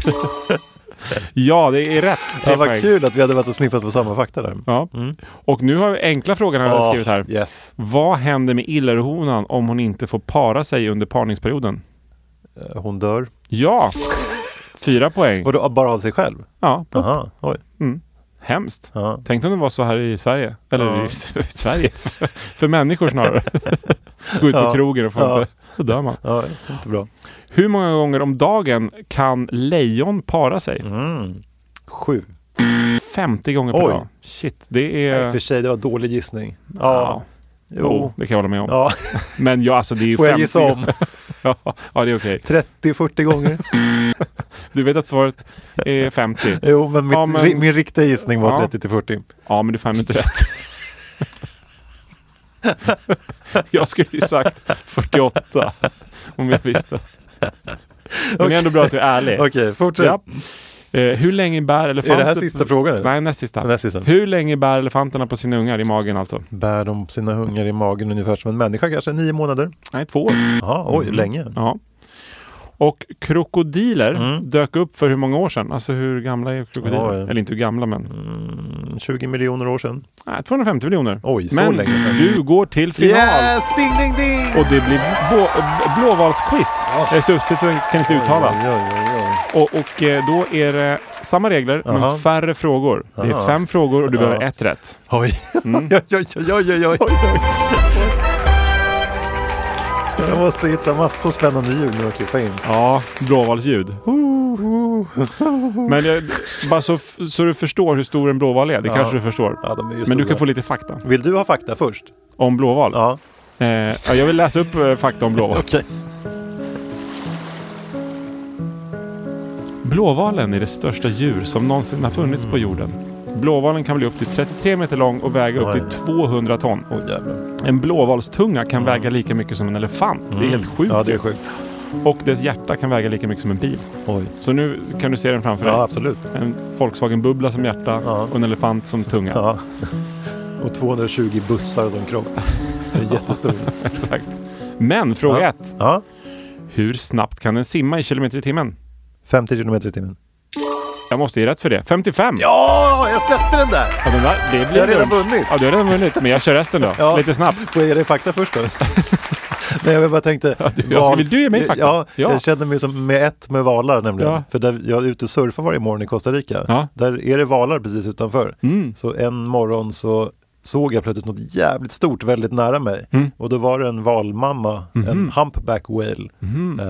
B: ja, det är rätt. Tre
A: Ja, vad
B: poäng.
A: kul att vi hade varit och sniffat på samma fakta där.
B: Ja. Och nu har vi enkla frågan han har
A: Ja,
B: skrivit här.
A: Yes.
B: Vad händer med illerhonan om hon inte får para sig under parningsperioden?
A: Eh, Hon dör.
B: Ja! Fyra poäng.
A: Vadå, bara av sig själv?
B: Ja,
A: Aha, oj.
B: hemskt.
A: Ja.
B: Tänk om det var så här i Sverige. Eller
A: Ja.
B: i, i Sverige. För, för människor snarare. Gå ut på
A: Ja.
B: krogen och få
A: Ja.
B: inte... Då dör man.
A: Ja, inte bra.
B: Hur många gånger om dagen kan lejon para sig?
A: Sju.
B: 50 gånger per
A: Mm. Oj.
B: dag. Shit, det
A: Nej,
B: är...
A: för sig, det var dålig gissning.
B: Ja.
A: Ja,
B: Jo,
A: jo.
B: det kan jag hålla med om.
A: Ja.
B: Men ja, alltså det är ju
A: Får jag
B: 50
A: gissa om?
B: ja, ja, det är okej.
A: 30-40 gånger?
B: Du vet att svaret är 50.
A: Jo, men, mitt,
B: Ja, men-
A: ri- min riktiga gissning var
B: Ja.
A: 30-40.
B: Ja, men du fann inte rätt. jag skulle ju sagt 48 om jag visste. Men det är ändå bra att du är ärlig.
A: Okej, fortsätt.
B: Ja. Eh, hur länge bär elefanter...
A: Är det här sista frågan? eller?
B: Nej, näst sista.
A: Näst sista.
B: Hur länge bär elefanterna på sina ungar i magen alltså?
A: Bär de sina hungar i magen ungefär som en människa kanske? Nio månader?
B: Nej, två år.
A: Jaha, oj, länge.
B: Mm. Ja. Och krokodiler dök upp för hur många år sedan? Alltså hur gamla är krokodiler?
A: Mm. Ja, ja.
B: Eller inte hur gamla, men...
A: Mm, 20 miljoner år sedan.
B: Nej, 250 miljoner.
A: Oj, så
B: men
A: länge sedan.
B: du går till final.
A: Yes! Ding, ding, ding!
B: Och det blir blå, blåvalsquiz. Jag är så uppe så jag kan inte uttala.
A: Oj, oj, oj, oj.
B: Och, och eh, då är det samma regler, men
A: Aha.
B: färre frågor. Det är
A: Aha.
B: fem frågor och du behöver ett rätt.
A: Oj, oj, oj, oj, oj, oj, oj. Jag måste hitta massa spännande ljud nu att klippa in.
B: Ja, blåvalsljud. Men jag, bara så, f- så du förstår hur stor en blåval är. Det kanske du förstår.
A: Ja, de är ju
B: men du
A: stora.
B: kan få lite fakta
A: Vill du ha fakta först?
B: om blåval.
A: Ja.
B: Eh, ja, jag vill läsa upp eh, fakta om blåval.
A: Okej.
B: Blåvalen är det största djur som någonsin har funnits på jorden. Blåvalen kan bli upp till 33 meter lång och väga upp till 200 ton.
A: Åh jävlar.
B: En blåvalstunga kan väga lika mycket som en elefant. Det är helt sjukt.
A: Mm. Ja, det är sjukt.
B: Och dess hjärta kan väga lika mycket som en bil.
A: Oj.
B: Så nu kan du se den framför dig.
A: Ja, absolut.
B: En Volkswagen Bubbla som hjärta och en elefant som tunga.
A: Ja. Och 220 bussar som kropp. Det är jättestor.
B: Exakt. Men fråga ett.
A: Ja.
B: Hur snabbt kan den simma i kilometer i timmen?
A: 50 kilometer i timmen.
B: Jag måste ge rätt för det. 55!
A: Ja, jag sätter den där!
B: Ja, den där, det blir
A: Jag har redan
B: lugnt.
A: vunnit.
B: Ja, du har redan vunnit. Men jag kör resten då.
A: Ja.
B: Lite snabbt.
A: Får jag ge dig fakta först då? Nej, jag bara tänkte...
B: du- jag ska- vill du ge mig fakta?
A: Ja,
B: Ja.
A: jag känner mig som med ett med valar nämligen.
B: Ja.
A: För där jag är ute och surfar varje morgon i Costa Rica.
B: Ja. Mm.
A: Där är det valar precis utanför. Så en morgon så såg jag plötsligt något jävligt stort väldigt nära mig.
B: Mm.
A: Och då var det en valmamma,
B: Mhm.
A: en humpback whale,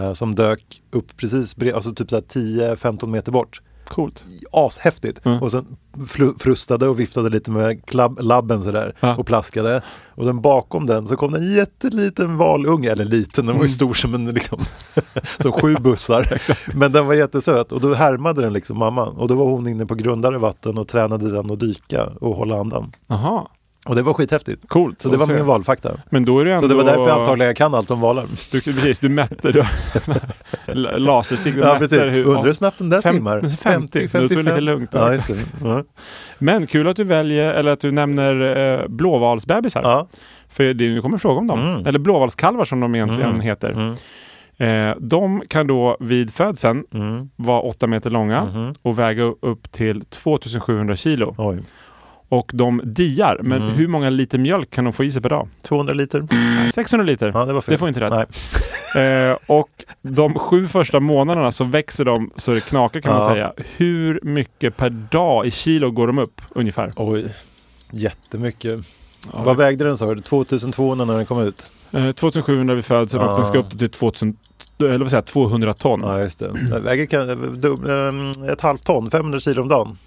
A: eh, som dök upp precis bred, alltså typ så här 10-15 meter bort.
B: Coolt. Mm.
A: Ashäftigt. Och sen flu- frustade och viftade lite med klabb, labben sådär
B: Ja.
A: och plaskade. Och sen bakom den så kom det en jätteliten valunge, eller liten,
B: Mm.
A: den var ju stor som en liksom, som sju bussar. Men den var jättesöt och då härmade den liksom mamman. Och då var hon inne på grundare vatten och tränade den att dyka och hålla andan.
B: Aha.
A: Och det var skithäftigt.
B: Coolt.
A: Så det var
B: Och se.
A: min valfakta.
B: Men då är det ändå...
A: Så det var därför jag antagligen jag kan allt om valar.
B: Du, precis, du mätte du, lasersikt. du
A: Ja,
B: mätte
A: precis.
B: hur-
A: Undrar hur snabbt den där
B: Fem-
A: simmar?
B: 50, då tog det lite lugnt.
A: Ja, just det. Ja.
B: Men kul att du väljer, eller att du nämner eh, blåvalsbebisar.
A: Ja.
B: För det, nu kommer en fråga om dem.
A: Mm.
B: Eller blåvalskalvar som de egentligen
A: Mm.
B: heter.
A: Mm.
B: Eh, de kan då vid födseln
A: Mm.
B: vara 8 meter långa
A: Mhm.
B: och väga u- upp till 2700 kilo.
A: Oj.
B: Och de diar, men
A: Mm.
B: hur många liter mjölk kan de få i sig per dag?
A: 200 liter.
B: 600 liter.
A: Ja, det var fel.
B: Mm. Det får inte rätt.
A: Nej.
B: Eh, och de sju första månaderna så växer de så det knakar kan man
A: Ja.
B: säga. Hur mycket per dag i kilo går de upp ungefär?
A: Oj, jättemycket. Vad vägde den sa du? 2200 när den kom ut?
B: Eh, 2700 vid födseln och
A: Ja.
B: den ska upp till 2000, eller vad säger, jag, 200 ton.
A: Ja, just det. Den väger kan, dubb- ehm, ett halvt ton, 500 kilo om dagen.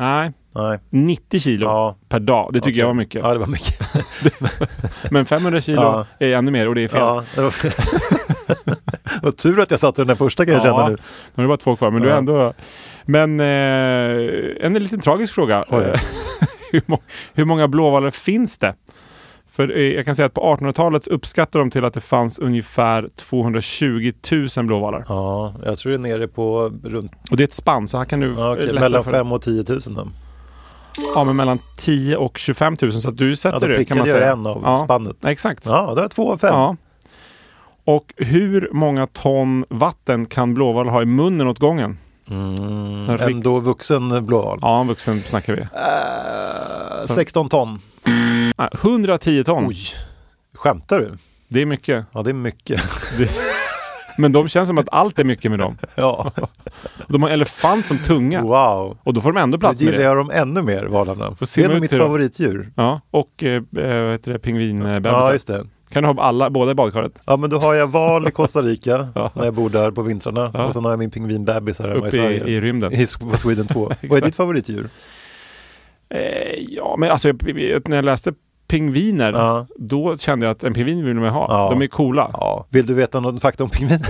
B: Nej,
A: Nej.
B: 90 kilo
A: Ja,
B: per dag. Det tycker
A: okej.
B: jag var mycket.
A: Ja, det var mycket.
B: Men 500 kilo
A: Ja.
B: är ännu mer och det är fel.
A: Ja, det var fel. Vad tur att jag satte den där första kan jag
B: Ja.
A: känna nu.
B: Nu är det bara två kvar, men du är
A: Ja.
B: ändå... Men eh, en liten tragisk fråga. Eh,
A: Oj.
B: hur, må- hur många blåvalar finns det? För eh, jag kan säga att på 1800-talet uppskattar de till att det fanns ungefär 220 000 blåvalar.
A: Ja, jag tror det är nere på runt,
B: Och det är ett spann, så här kan du...
A: ja, okej,
B: eh, lätta
A: mellan
B: för-
A: 5 och 10 000 då.
B: Ja, men mellan 10 000 och 25 000. Så att du
A: Ja,
B: sätter
A: då
B: det, kan man
A: prickade
B: säga.
A: jag en av
B: Ja,
A: spannet.
B: Exakt.
A: Ja, då är två av fem.
B: Ja. Och hur många ton vatten kan blåval ha i munnen åt gången?
A: Mm,
B: En rikt-
A: ändå vuxen blåval.
B: Ja, en vuxen snackar vi.
A: Eh, 16 ton.
B: Mm. Nej, 110 ton.
A: Oj. Skämtar du?
B: Det är mycket.
A: Ja, det är mycket.
B: Men de känns som att allt är mycket med dem.
A: ja.
B: De har elefant som tunga.
A: Wow.
B: Och då får de ändå
A: Då
B: plats med
A: gillar
B: det.
A: jag dem ännu mer, valarna.
B: Får
A: Det
B: simma
A: är nog
B: ut
A: mitt
B: till dem.
A: favoritdjur.
B: Ja, och eh, eh, vad heter det, pingvinbebisar.
A: Ja, just det.
B: kan du ha alla, båda i badkaret?
A: Ja, men då har jag val i Costa Rica
B: Ja.
A: när jag bor där på vintrarna.
B: Ja.
A: Och sen har jag min pingvinbebis här hemma i
B: Uppe
A: Sverige.
B: i, i rymden.
A: I Sk- på Sweden 2. Vad är ditt favoritdjur?
B: Eh, ja, men alltså jag, jag- när jag läste pingviner,
A: Ja.
B: då kände jag att en pingvin vill man ju ha.
A: Ja.
B: De är coola. Ja.
A: Vill du veta någon fakta om pingviner?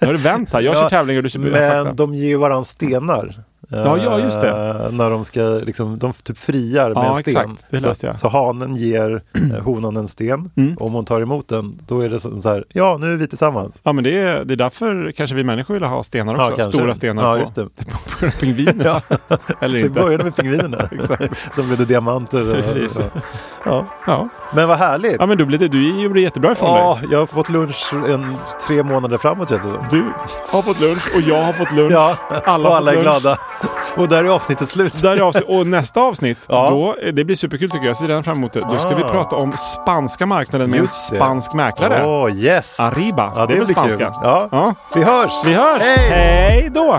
B: nu har du vänt här. Jag kör
A: Ja,
B: tävlingar och du kör fakta.
A: Men de ger ju varandra stenar.
B: Ja, ja, just det.
A: Eh, När de ska, liksom, de typ friar med
B: Ja,
A: en sten.
B: exakt. Det läste
A: så,
B: jag.
A: så hanen ger eh, honan en sten.
B: Mm.
A: Om hon tar emot den, då är det som så här, ja nu är vi tillsammans.
B: Ja, men det är, det är därför kanske vi människor vill ha stenar också.
A: kanske.
B: Stora stenar
A: Ja,
B: på-
A: just det.
B: på grund av pingviner.
A: Ja.
B: Eller
A: Det
B: inte.
A: började med pingvinerna
B: Exakt.
A: som blev diamanter. och-
B: Precis.
A: Ja.
B: Ja.
A: Men vad härligt!
B: ja, men du, blev det, du gjorde jättebra ifrån dig.
A: Ja, jag har fått lunch en, tre månader framåt känns det som.
B: Du har fått lunch och jag har fått lunch.
A: Ja,
B: Alla
A: och
B: har
A: alla
B: fått
A: är
B: lunch.
A: glada. Och där är avsnittet slut.
B: Där är avsnitt, och nästa avsnitt,
A: Ja.
B: då, det blir superkul tycker jag. Jag ser redan fram emot det. Då ska
A: Ah.
B: vi prata om spanska marknaden med
A: Just det.
B: en spansk mäklare.
A: Åh, oh, yes!
B: Arriba.
A: Ja, det,
B: är väl
A: blir
B: spanska?
A: kul. Ja.
B: Ja.
A: Vi hörs!
B: Vi hörs!
A: Hej!
B: Hej då!